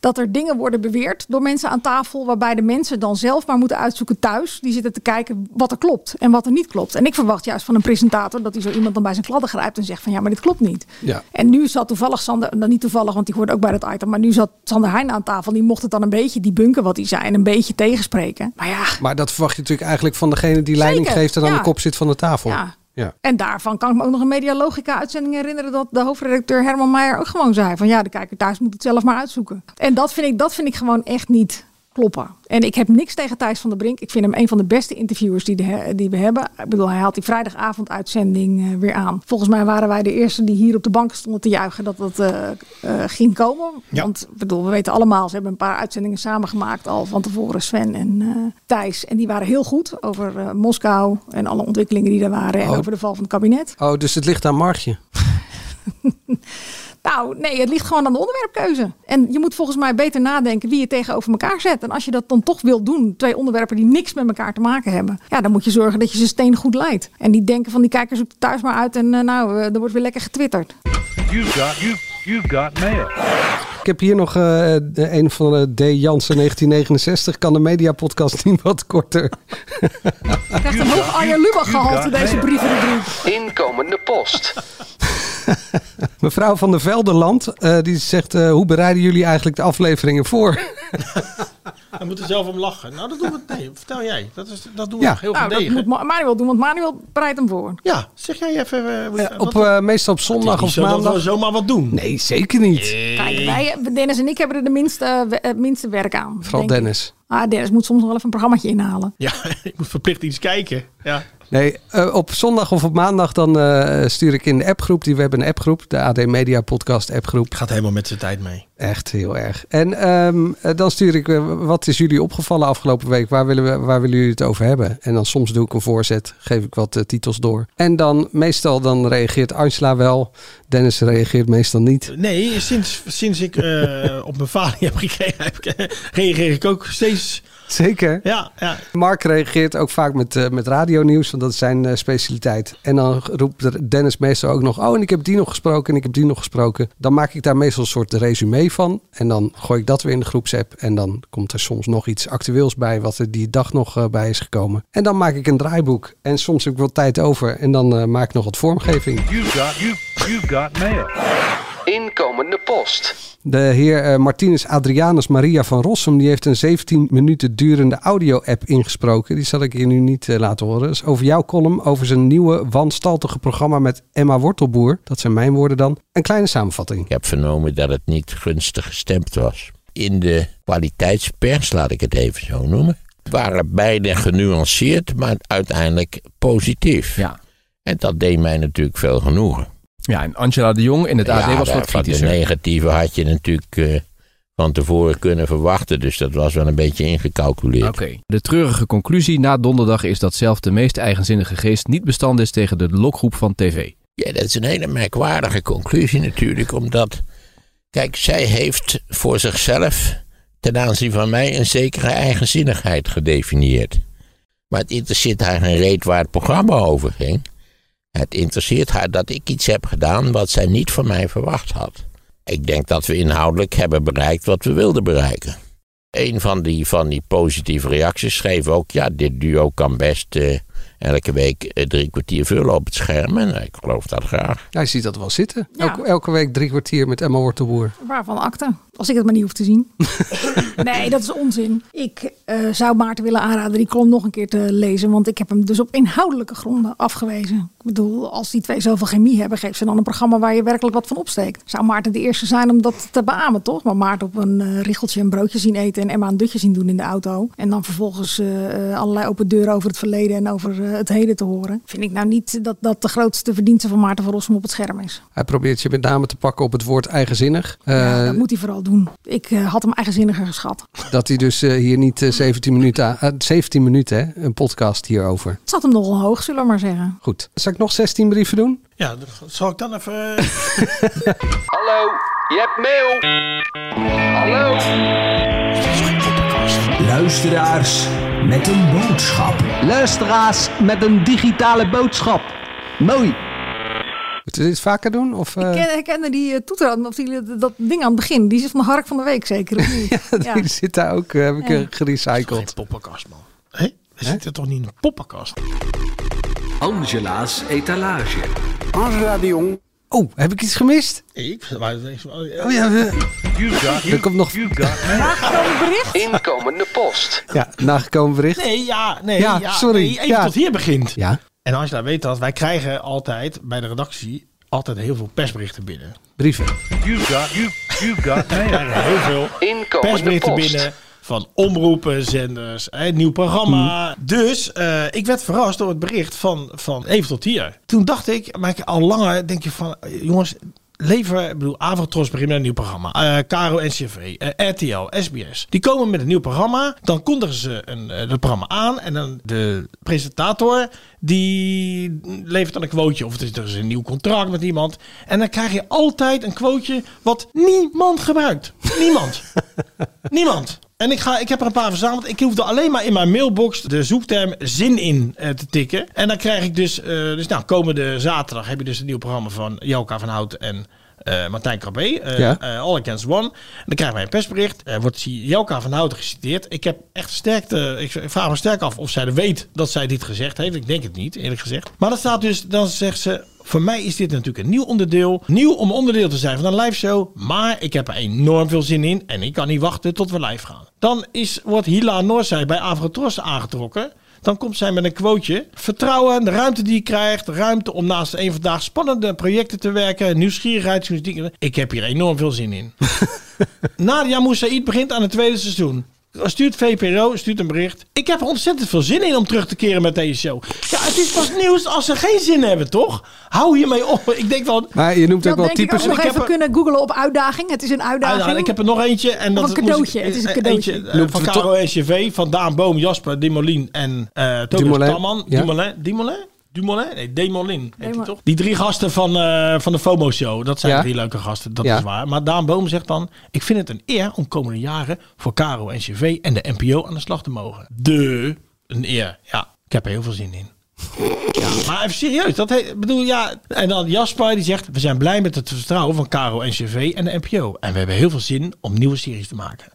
Dat er dingen worden beweerd door mensen aan tafel... waarbij de mensen dan zelf maar moeten uitzoeken thuis. Die zitten te kijken wat er klopt en wat er niet klopt. En ik verwacht juist van een presentator... dat hij zo iemand dan bij zijn kladden grijpt en zegt van... ja, maar dit klopt niet.
Ja.
En nu zat toevallig Sander, nou niet toevallig, want die hoorde ook bij dat item, maar nu zat Sander Heijn aan tafel. Die mocht het dan een beetje debunken wat hij zei en een beetje tegenspreken. Maar ja,
Maar dat verwacht je natuurlijk eigenlijk van degene die leiding
Zeker,
geeft en aan
ja.
de kop zit van de tafel.
ja.
Ja.
En daarvan kan ik me ook nog een Medialogica-uitzending herinneren... dat de hoofdredacteur Herman Meijer ook gewoon zei... van ja, de kijker thuis moet het zelf maar uitzoeken. En dat vind ik, dat vind ik gewoon echt niet kloppen. En ik heb niks tegen Thijs van der Brink. Ik vind hem een van de beste interviewers die, de, die we hebben. Ik bedoel, hij haalt die vrijdagavonduitzending eh, weer aan. Volgens mij waren wij de eerste die hier op de bank stonden te juichen dat dat eh, eh, ging komen.
Ja.
Want ik bedoel, we weten allemaal, ze hebben een paar uitzendingen samengemaakt al van tevoren, Sven en eh, Thijs. En die waren heel goed over eh, Moskou en alle ontwikkelingen die er waren en
Oh.
over de val van het kabinet.
Oh, dus het ligt aan Margje.
Nou, nee, het ligt gewoon aan de onderwerpkeuze. En je moet volgens mij beter nadenken wie je tegenover elkaar zet. En als je dat dan toch wilt doen, twee onderwerpen die niks met elkaar te maken hebben, ja, dan moet je zorgen dat je ze steen goed leidt. En die denken van die kijkers zoekt het thuis maar uit en eh, nou, eh, er wordt weer lekker getwitterd.
You've got, you you've got mail.
Ik heb hier nog eh, een van de D. Jansen 1969. Kan de mediapodcast niet wat korter?
Krijgt een hoog Arjen Lubach gehalte deze brievenrubriek.
Inkomende post.
Mevrouw van der Velderland, eh, die zegt... eh, hoe bereiden jullie eigenlijk de afleveringen voor?
Hij moet er zelf om lachen. Nou, dat doen we. Nee, vertel jij. Dat, is, dat doen we
Ja.
nog heel
Nou, dat
gedegen.
moet Ma- Manuel doen, want Manuel bereidt hem voor.
Ja, zeg jij even. eh, hoe-
Eh, op,
wat-
eh, meestal op zondag
niet
of
zo dat we
maandag.
zomaar wat doen.
Nee, zeker niet.
Kijk, wij, eh, Dennis en ik hebben er de minste, eh, we- het minste werk aan.
Vooral
denk ik.
Dennis.
Ah, Dennis moet soms nog wel even een programmaatje inhalen.
Ja, ik moet verplicht iets kijken. Ja.
Nee, eh, op zondag of op maandag dan eh, stuur ik in de appgroep. Die we hebben een appgroep, de AD Media Podcast appgroep.
Gaat helemaal met zijn tijd mee.
Echt heel erg. En ehm, eh, dan stuur ik, eh, wat is jullie opgevallen afgelopen week? Waar willen, we, waar willen jullie het over hebben? En dan soms doe ik een voorzet, geef ik wat eh, titels door. En dan meestal dan reageert Angela wel. Dennis reageert meestal niet.
Nee, sinds, sinds ik eh, op mijn vader heb gekregen, heb ik- eh, reageer ik ook steeds.
Zeker.
Ja, ja.
Mark reageert ook vaak met, eh met radionieuws, want dat is zijn eh, specialiteit. En dan roept er Dennis meestal ook nog: Oh, en ik heb die nog gesproken en ik heb die nog gesproken. Dan maak ik daar meestal een soort resume van. En dan gooi ik dat weer in de groepsapp. En dan komt er soms nog iets actueels bij, wat er die dag nog eh, bij is gekomen. En dan maak ik een draaiboek. En soms heb ik wat tijd over. En dan eh, maak ik nog wat vormgeving.
You've got, you you've got mail.
Inkomende post.
De heer eh, Martinus Adrianus Maria van Rossum die heeft een 17 minuten durende audio-app ingesproken. Die zal ik je nu niet eh, laten horen. Dat is over jouw column, over zijn nieuwe wanstaltige programma met Emma Wortelboer. Dat zijn mijn woorden dan. Een kleine samenvatting.
Ik heb vernomen dat het niet gunstig gestemd was. In de kwaliteitspers, laat ik het even zo noemen, waren beide genuanceerd, maar uiteindelijk positief.
Ja.
En dat deed mij natuurlijk veel genoegen.
Ja, en Angela de Jong in het AD
Ja,
was wat
van
kritischer.
De negatieve had je natuurlijk eh, van tevoren kunnen verwachten, dus dat was wel een beetje ingecalculeerd.
Oké. De treurige conclusie na donderdag is dat zelfs de meest eigenzinnige geest niet bestand is tegen de lokgroep van tv.
Ja, dat is een hele merkwaardige conclusie natuurlijk, omdat, kijk, zij heeft voor zichzelf ten aanzien van mij een zekere eigenzinnigheid gedefinieerd. Maar het interesseert haar geen reet waar het programma over ging. Het interesseert haar dat ik iets heb gedaan wat zij niet van mij verwacht had. Ik denk dat we inhoudelijk hebben bereikt wat we wilden bereiken. Een van die, van die positieve reacties schreef ook: ja, dit duo kan best eh, elke week eh, drie kwartier vullen op het scherm. En eh, ik geloof dat graag.
Hij ziet dat wel zitten.
Ja.
Elke, elke week drie kwartier met Emma Wortelboer.
Waarvan akte? Als ik het maar niet hoef te zien. nee, dat is onzin. Ik eh, zou Maarten willen aanraden die kolom nog een keer te lezen. Want ik heb hem dus op inhoudelijke gronden afgewezen. Ik bedoel, als die twee zoveel chemie hebben, geef ze dan een programma waar je werkelijk wat van opsteekt. Zou Maarten de eerste zijn om dat te beamen, toch? Maar Maarten op een eh, richeltje een broodje zien eten en Emma een dutje zien doen in de auto. En dan vervolgens eh, eh, allerlei open deuren over het verleden en over eh, het heden te horen. Vind ik nou niet dat dat de grootste verdienste van Maarten van Rossum op het scherm is.
Hij probeert je met name te pakken op het woord eigenzinnig. Eh,
Ja, dat moet hij vooral doen. Ik eh, had hem eigenzinniger geschat.
Dat hij dus eh, hier niet eh, 17 minuten, aan- eh, 17 minuten hè, een podcast hierover.
Het zat hem nogal hoog, zullen we maar zeggen.
Goed. Zal ik nog 16 brieven doen?
Ja, dat- zal ik dan even. eh,
Hallo, je hebt mail. Hallo.
Luisteraars met een boodschap. Luisteraars met een digitale boodschap. Mooi.
Moeten we dit vaker doen? Of, eh?
Ik ken- herkende die eh, toeter, aan- of die, dat ding aan het begin. Die is van de hark van de week zeker, of niet? Ja.
Die zit daar ook, eh, heb ik
Ja.
eh, gerecycled.
poppenkast, man. Hé, we zitten toch niet in een poppenkast?
Angela's etalage.
Angela de Jong. Oh, heb ik iets gemist?
Ik? Waar- Oh
Oh ja, we-
You've got,
er komt nog
Inkomende post.
ja, nagekomen bericht.
Nee, ja, nee,
Ja,
ja,
sorry.
nee, even
Ja.
tot hier begint.
Ja.
En Angela weet dat, wij krijgen altijd bij de redactie altijd heel veel persberichten binnen.
Brieven.
You got, you, you got. Nee, ja, heel veel
Inkomende
persberichten
post.
binnen van omroepen, zenders, hè, nieuw programma. Dus eh, ik werd verrast door het bericht van, van even tot hier. Toen dacht ik, maar ik al langer denk je van, eh, jongens, lever, ik bedoel, Avrotros begint met een nieuw programma. Eh Caro NCV, eh, RTL, SBS. Die komen met een nieuw programma. Dan kondigen ze een, eh, het programma aan. En dan de presentator, die levert dan een quoteje. Of het is, er is een nieuw contract met iemand. En dan krijg je altijd een quoteje wat niemand gebruikt. Niemand. Niemand. En ik, ga, ik heb er een paar verzameld. Ik hoefde alleen maar in mijn mailbox de zoekterm zin in eh, te tikken. En dan krijg ik dus... eh, dus nou, komende zaterdag heb je dus een nieuw programma van Jelka van Hout en eh, Martijn Krabbe. eh,
Ja.
eh, All Against One. En dan krijgen wij een persbericht. Er wordt Jelka van Hout geciteerd. Ik heb echt sterkte... Ik vraag me sterk af of zij er weet dat zij dit gezegd heeft. Ik denk het niet, eerlijk gezegd. Maar dat staat dus... Dan zegt ze... Voor mij is dit natuurlijk een nieuw onderdeel. Nieuw om onderdeel te zijn van een live show. Maar ik heb er enorm veel zin in. En ik kan niet wachten tot we live gaan. Dan is, wordt Hila Noorzij bij Avrotros aangetrokken. Dan komt zij met een quoteje. Vertrouwen, de ruimte die je krijgt. Ruimte om naast een vandaag spannende projecten te werken. Nieuwsgierigheid, journalistiek. Ik heb hier enorm veel zin in. Nadia Moussaïd begint aan het tweede seizoen. Stuurt VPRO, stuurt een bericht. Ik heb er ontzettend veel zin in om terug te keren met deze show. Ja, het is pas nieuws als ze geen zin hebben, toch? Hou hiermee op. Ik denk wel...
Maar je noemt
Dat
ook wel
denk ik
types.
ook nog
Ik heb
even
er-
kunnen googlen op uitdaging. Het is een uitdaging.
Uiteraard, ik heb er nog eentje. En dat
Of een
moest
cadeautje,
ik-
het is een
eh,
cadeautje.
Eentje, eh,
Noemt
van
we
Caro SCV, van Daan Boom, Jasper, Dimolien en eh Tobias
Dumoulin,
Tamman.
ja.
Dumoulin? Dumoulin? Dumoulin? Nee, Demolin heet die
Demo-
toch? Die drie gasten van, eh, van de FOMO-show. Dat zijn
Ja.
drie leuke gasten, dat
Ja.
is waar. Maar Daan Boom zegt dan... Ik vind het een eer om komende jaren voor Caro NCV en de NPO aan de slag te mogen. De, een eer. Ja, ik heb er heel veel zin in. Maar even serieus, dat he- bedoel ja. En dan Jasper die zegt: We zijn blij met het vertrouwen van Caro en CV en de NPO. En we hebben heel veel zin om nieuwe series te maken.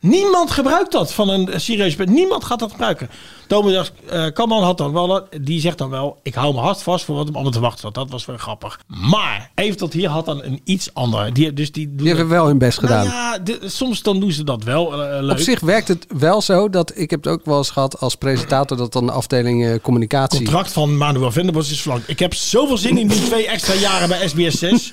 Niemand gebruikt dat van een eh, serieus punt. Niemand gaat dat gebruiken. Thomas eh Kamman had dan wel, een- die zegt dan wel: Ik hou mijn hart vast voor wat hem allemaal te wachten zat. Dat was wel grappig. Maar even tot hier had dan een iets ander. Die, dus die, doen
Die hebben wel hun best
Nou
gedaan.
ja, de- soms dan doen ze dat wel. eh, eh, leuk.
Op zich werkt het wel zo dat ik heb het ook wel eens gehad als presentator dat dan de afdeling eh, communicatie.
contract van Manuel Venderbos is verlangd. Ik heb zoveel zin in die twee extra jaren bij SBS 6.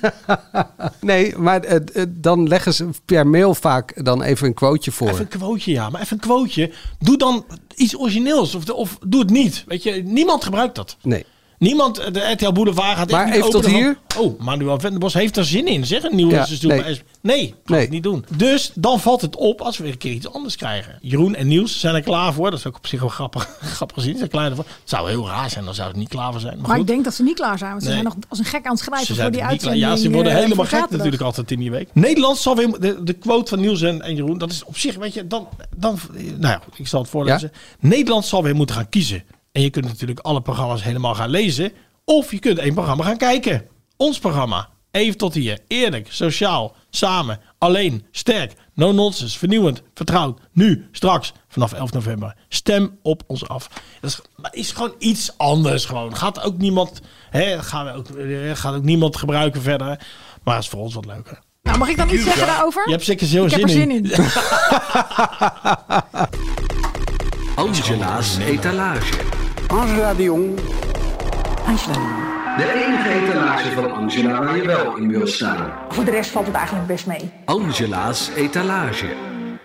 Nee, maar eh, eh, dan leggen ze per mail vaak dan even een quoteje voor.
Even een quoteje, ja. Maar even een quoteje. Doe dan iets origineels. Of, of doe het niet. Weet je, niemand gebruikt dat.
Nee.
Niemand, eh, de RTL Boulevard gaat echt
Maar
niet
even tot
openen van,
hier?
oh, Manuel Venderbos heeft er zin in. Zeg een nieuwe
Ja,
seizoen.
nee.
bij SBS. Nee, gaat
Nee.
het niet doen. Dus dan valt het op als we weer een keer iets anders krijgen. Jeroen en Niels zijn er klaar voor. Dat is ook op zich wel grappig, grappig gezien. Ze zijn klaar voor. Het zou heel raar zijn, dan zou het niet klaar voor zijn. Maar,
Maar
goed.
ik denk dat ze niet klaar zijn. Want ze
Nee.
zijn nog als een gek aan het schrijven
Ze
voor
zijn
die
er niet klaar.
uitzending.
Ja, ze worden
eh,
helemaal
voor
gek
zaterdag.
natuurlijk altijd in die week. Nederland zal weer... De, de quote van Niels en, en Jeroen, dat is op zich, weet je, dan... dan nou ja, goed, ik zal het voorlezen. Nederland zal weer moeten gaan kiezen. En je kunt natuurlijk alle programma's helemaal gaan lezen. Of je kunt één programma gaan kijken. Ons programma. Even tot hier. Eerlijk, sociaal, samen, alleen, sterk, no nonsense, vernieuwend, vertrouwd. Nu, straks, vanaf 11 november. Stem op ons af. Dat is, maar is gewoon iets anders gewoon. Gaat ook niemand, hè, gaan we ook, eh, gaat ook niemand gebruiken verder. Maar is voor ons wat leuker.
Nou, mag ik dan iets zeggen daarover?
Je hebt zeker heel
ik
zin,
heb er zin in.
Angela's etalage.
Angela de Jong.
De enige etalage van Angela waar je wel in wil staan.
Voor de rest valt het eigenlijk best mee.
Angela's etalage.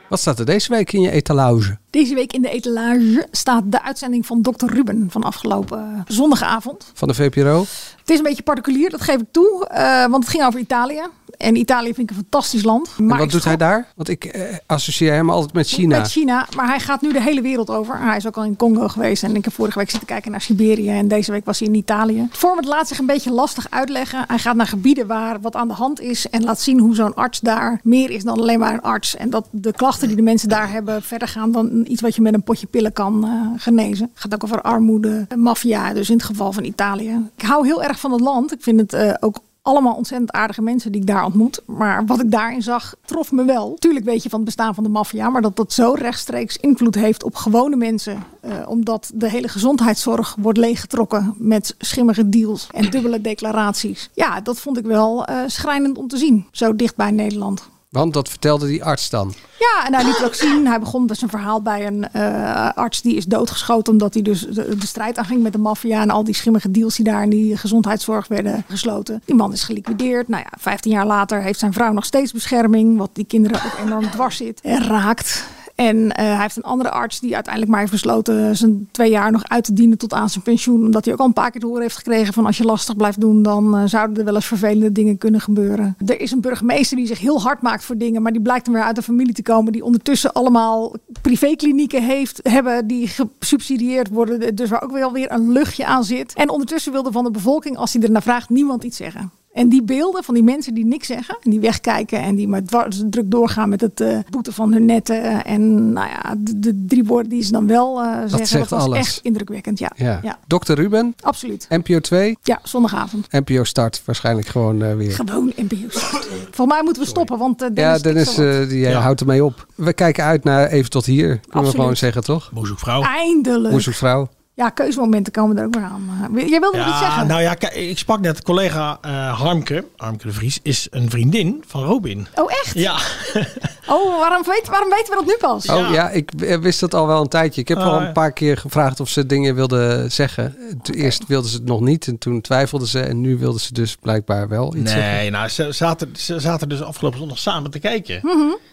Wat staat er deze week in je etalage?
Deze week in de etalage staat de uitzending van Dr. Ruben van afgelopen eh, zondagavond.
Van de VPRO?
Het is een beetje particulier, dat geef ik toe. eh, want het ging over Italië. En Italië vind ik een fantastisch land.
En
Maar
wat
ik
doet hij daar? Want ik eh, associeer hem altijd met China.
Met China, maar hij gaat nu de hele wereld over. Hij is ook al in Congo geweest en ik heb vorige week zitten kijken naar Siberië en deze week was hij in Italië. Het format laat zich een beetje lastig uitleggen. Hij gaat naar gebieden waar wat aan de hand is en laat zien hoe zo'n arts daar meer is dan alleen maar een arts. En dat de klachten die de mensen daar hebben verder gaan dan iets wat je met een potje pillen kan eh, genezen. Het gaat ook over armoede, eh, maffia, dus in het geval van Italië. Ik hou heel erg van het land. Ik vind het eh, ook allemaal ontzettend aardige mensen die ik daar ontmoet. Maar wat ik daarin zag, trof me wel. Tuurlijk weet je van het bestaan van de maffia, maar dat dat zo rechtstreeks invloed heeft op gewone mensen. eh, omdat de hele gezondheidszorg wordt leeggetrokken met schimmige deals en dubbele declaraties. Ja, dat vond ik wel eh, schrijnend om te zien. Zo dicht bij Nederland.
Want dat vertelde die arts dan.
Ja, en hij liet het ook zien. Hij begon dus een verhaal bij een eh, arts die is doodgeschoten. Omdat hij dus de, de strijd aanging met de maffia. En al die schimmige deals die daar in die gezondheidszorg werden gesloten. Die man is geliquideerd. Nou ja, 15 jaar later heeft zijn vrouw nog steeds bescherming. Wat die kinderen ook enorm dwars zit en raakt. En eh, hij heeft een andere arts die uiteindelijk maar heeft besloten zijn twee jaar nog uit te dienen tot aan zijn pensioen. Omdat hij ook al een paar keer te horen heeft gekregen van als je lastig blijft doen, dan eh, zouden er wel eens vervelende dingen kunnen gebeuren. Er is een burgemeester die zich heel hard maakt voor dingen, maar die blijkt dan weer uit een familie te komen die ondertussen allemaal privéklinieken heeft, hebben die gesubsidieerd worden. Dus waar ook wel weer een luchtje aan zit. En ondertussen wilde van de bevolking, als hij er naar vraagt, niemand iets zeggen. En die beelden van die mensen die niks zeggen, en die wegkijken en die maar dwars- druk doorgaan met het eh, boeten van hun netten. En nou ja, de, de drie woorden die ze dan wel eh, zeggen, dat,
zegt
was
alles.
echt indrukwekkend. Ja,
Ja.
ja.
Dr. Ruben,
absoluut.
NPO 2,
Ja, zondagavond.
NPO start waarschijnlijk gewoon eh, weer.
Gewoon NPO's. Volgens mij moeten we stoppen, want eh,
Ja,
Dennis, ja,
Dennis, eh, die eh, houdt ermee op. We kijken uit naar even tot hier. Kunnen we
Absoluut.
gewoon zeggen, toch? Boezekvrouw.
eindelijk.
Boezekvrouw.
Ja, keuzemomenten komen er ook weer aan. Eh, Jij wilde nog iets zeggen?
nou ja, kijk, ik sprak net collega eh, Harmke. Harmke de Vries is een vriendin van Robin.
Oh, echt?
Ja.
Oh, waarom, weet, waarom weten we dat nu pas?
Oh ja, ik eh, wist dat al wel een tijdje. Ik heb
Ah,
al een
ja.
paar keer gevraagd of ze dingen wilde zeggen. Toen Eerst wilde ze het nog niet en toen twijfelde ze. En nu wilde ze dus blijkbaar wel iets zeggen.
Nee, nou, ze zaten, ze zaten dus afgelopen zondag samen te kijken.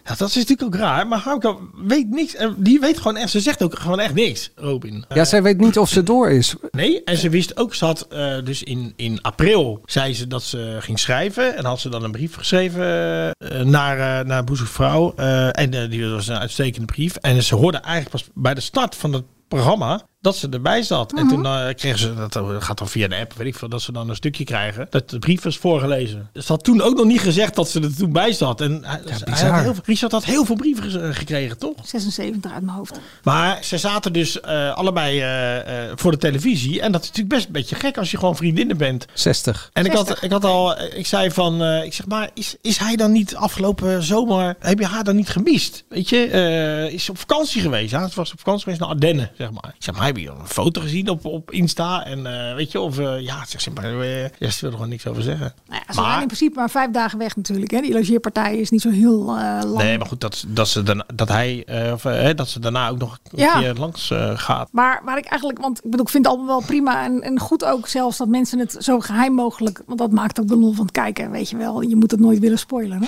Ja, dat is natuurlijk ook raar. Maar Harmke weet niks. En Die weet gewoon echt, ze zegt ook gewoon echt niks, Robin.
Ja, zij weet niet of ze door is.
Nee, en ze wist ook, ze had eh, dus in, in april, zei ze dat ze ging schrijven. En had ze dan een brief geschreven eh, naar, eh, naar Boezekvrouw. Eh, en eh, die was een uitstekende brief. En ze hoorde eigenlijk pas bij de start van het programma dat ze erbij zat. En toen eh, kregen ze, dat eh, gaat dan via de app, weet ik veel, dat ze dan een stukje krijgen. Dat de brief was voorgelezen. Ze had toen ook nog niet gezegd dat ze er toen bij zat. En hij, hij had
bizar.
heel, veel- Richard had heel veel brieven gez- eh, gekregen, toch?
76 uit mijn hoofd. Nou
Maar ze zaten dus eh, allebei eh, eh, voor de televisie. En dat is natuurlijk best een beetje gek als je gewoon vriendinnen bent.
60.
En ik had, ik had al, eh, ik zei van, eh, ik zeg maar, is, is hij dan niet afgelopen zomer, heb je haar dan niet gemist? Weet je, eh, is ze op vakantie geweest? Ja, ze was op vakantie geweest naar Ardennen, zeg maar. Ik zeg maar, heb je dan een foto gezien op, op Insta? En eh, weet je, of eh, ja, zeg ze maar, eh, ja, ze wil er gewoon niks over zeggen.
Nou ja, ze waren in principe maar vijf dagen weg natuurlijk. Hè? Die logeerpartij is niet zo heel eh, lang.
Nee, maar goed, dat, dat, ze, daarna, dat, hij, eh, of, eh, dat ze daarna ook nog een
Ja.
keer langs eh, gaat.
Maar waar ik eigenlijk, want ik bedoel, ik vind het allemaal wel prima en, en goed ook zelfs dat mensen het zo geheim mogelijk, want dat maakt ook de lol van het kijken, weet je wel. Je moet het nooit willen spoileren. Hè?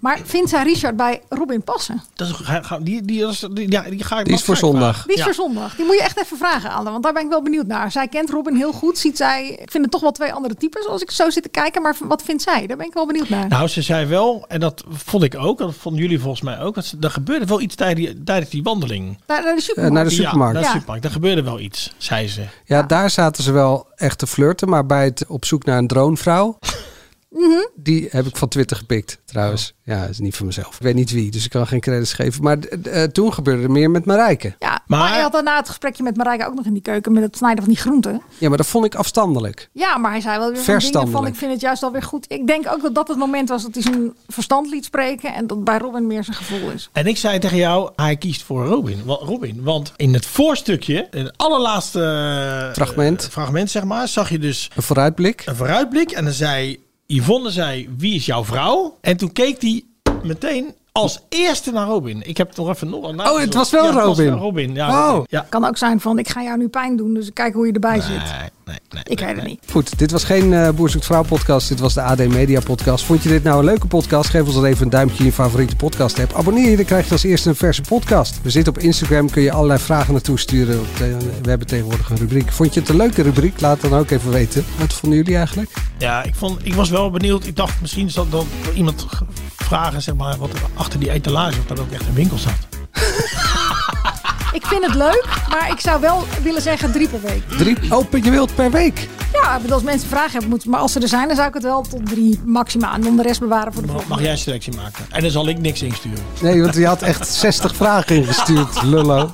Maar vindt zij Richard bij Robin passen?
Dat is, ga- ga- die, die, die, die, ja, die ga ik
Die is
Bas
voor
Kuik
zondag.
vragen.
Die is
Ja.
voor zondag. Die moet je echt even vragen aan haar, want daar ben ik wel benieuwd naar. Zij kent Robin heel goed, ziet zij, ik vind het toch wel twee andere types als ik zo zit te kijken, maar wat vindt zij? Daar ben ik wel benieuwd naar.
Nou, ze zei wel, en dat vond ik ook, en dat vonden jullie volgens mij ook, dat ze- er gebeurde wel iets tijdens die, tijdens die wandeling.
naar, naar de supermarkt.
Eh, naar de supermarkt.
Ja, naar de
Ja.
supermarkt. Er gebeurde wel iets, zei ze.
Ja, daar zaten ze wel echt te flirten. Maar bij het op zoek naar een dronevrouw. Die heb ik van Twitter gepikt, trouwens. Ja, dat is niet van mezelf. Ik weet niet wie, dus ik kan geen credits geven. Maar eh, eh, toen gebeurde er meer met Marijke.
Ja, maar... hij had daarna het gesprekje met Marijke ook nog in die keuken met het snijden van die groenten.
Ja, maar dat vond ik afstandelijk.
Ja, maar hij zei wel weer van dingen van
Verstandelijk.
ik vind het juist alweer goed. Ik denk ook dat dat het moment was dat hij zijn verstand liet spreken en dat bij Robin meer zijn gevoel is.
En ik zei tegen jou, hij kiest voor Robin. Wa- Robin want in het voorstukje, in het allerlaatste eh,
Fragment.
eh, fragment, zeg maar, zag je dus
Een vooruitblik.
een vooruitblik. En dan zei Yvonne, zei, wie is jouw vrouw? En toen keek hij meteen als eerste naar Robin. Ik heb het nog even nog
Oh, het was wel
ja, Het was wel
Robin.
Robin, ja.
Wow.
Robin. Ja.
Kan ook zijn van ik ga jou nu pijn doen, dus kijk hoe je erbij zit.
Nee, nee, nee.
Ik weet het niet.
Goed, dit was geen eh Boer zoekt vrouw podcast. Dit was de AD Media podcast. Vond je dit nou een leuke podcast? Geef ons dan even een duimpje in je favoriete podcast app. Abonneer je, dan krijg je als eerste een verse podcast. We zitten op Instagram, kun je allerlei vragen naartoe sturen. Op de- We hebben tegenwoordig een rubriek. Vond je het een leuke rubriek? Laat dan ook even weten. Wat vonden jullie eigenlijk?
Ja, ik, vond, ik was wel benieuwd. Ik dacht misschien zat dan iemand g- vragen zeg maar, wat er achter die etalage of dat ook echt een winkel zat.
Ik vind het leuk, maar ik zou wel willen zeggen drie per week.
Drie open je wild per week.
Ja, ik bedoel, als mensen vragen hebben, moeten, maar als ze er zijn, dan zou ik het wel tot drie maximaal en dan de rest bewaren voor de
Mag,
volgende.
mag jij een selectie maken? En dan zal ik niks insturen.
Nee, want je had echt 60 vragen ingestuurd, lullo.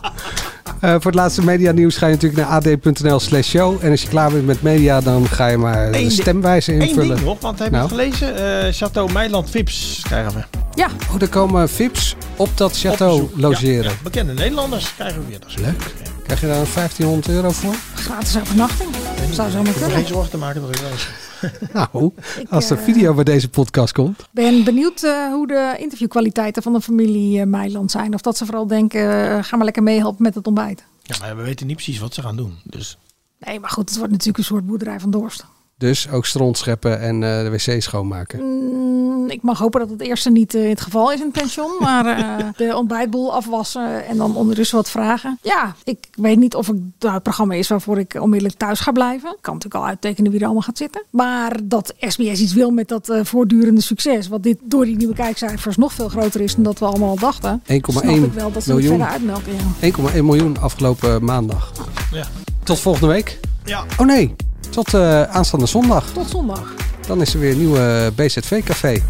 Eh, voor het laatste media nieuws ga je natuurlijk naar ad.nl slash show. En als je klaar bent met media, dan ga je maar de
Eén di-
stemwijze invullen.
Eén ding nog, want heb je
Nou.
het gelezen? Eh, Château Meiland Vips krijgen we.
Ja,
Oh, daar komen vips op dat château
Op bezoek.
logeren.
Ja, ja, bekende Nederlanders krijgen we weer. Dat is leuk.
Krijg je daar 1500 euro voor?
Gratis overnachting. Zou zo
Ik hoef
maar
me geen
kunnen.
zorgen te maken dat ik wel eens-
Nou, als er
eh,
video bij deze podcast komt.
Ik ben benieuwd eh, hoe de interviewkwaliteiten van de familie eh, Meiland zijn. Of dat ze vooral denken, eh, ga maar lekker meehelpen met het ontbijt.
Ja, maar we weten niet precies wat ze gaan doen. Dus
Nee, maar goed, het wordt natuurlijk een soort boerderij van Dorst.
Dus ook stront scheppen en eh, de wc schoonmaken.
Mm, ik mag hopen dat het eerste niet eh, het geval is in het pension. Maar eh, de ontbijtboel afwassen en dan ondertussen wat vragen. Ja, ik weet niet of ik, nou, het programma is waarvoor ik onmiddellijk thuis ga blijven. Ik kan natuurlijk al uittekenen wie er allemaal gaat zitten. Maar dat SBS iets wil met dat eh, voortdurende succes. Wat dit door die nieuwe kijkcijfers nog veel groter is dan dat we allemaal al dachten.
1,1
Snap ik wel dat ze het
miljoen.
verder uitmelken. Ja.
1,1 miljoen afgelopen maandag.
Ja.
Tot volgende week.
Ja.
Oh nee, tot eh, aanstaande zondag.
Tot zondag.
Dan is er weer een nieuwe BZV-café.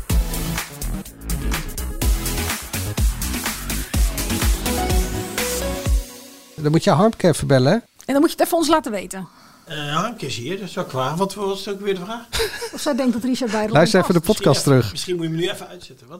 Dan moet je Harmke even bellen, hè?
En dan moet je het even ons laten weten.
eh Harmke is hier, dat is wel kwaad. Wat was het ook weer de vraag?
Of zij denkt dat Richard bij de
Luister even de podcast terug.
Misschien moet je hem nu even uitzetten. Wat?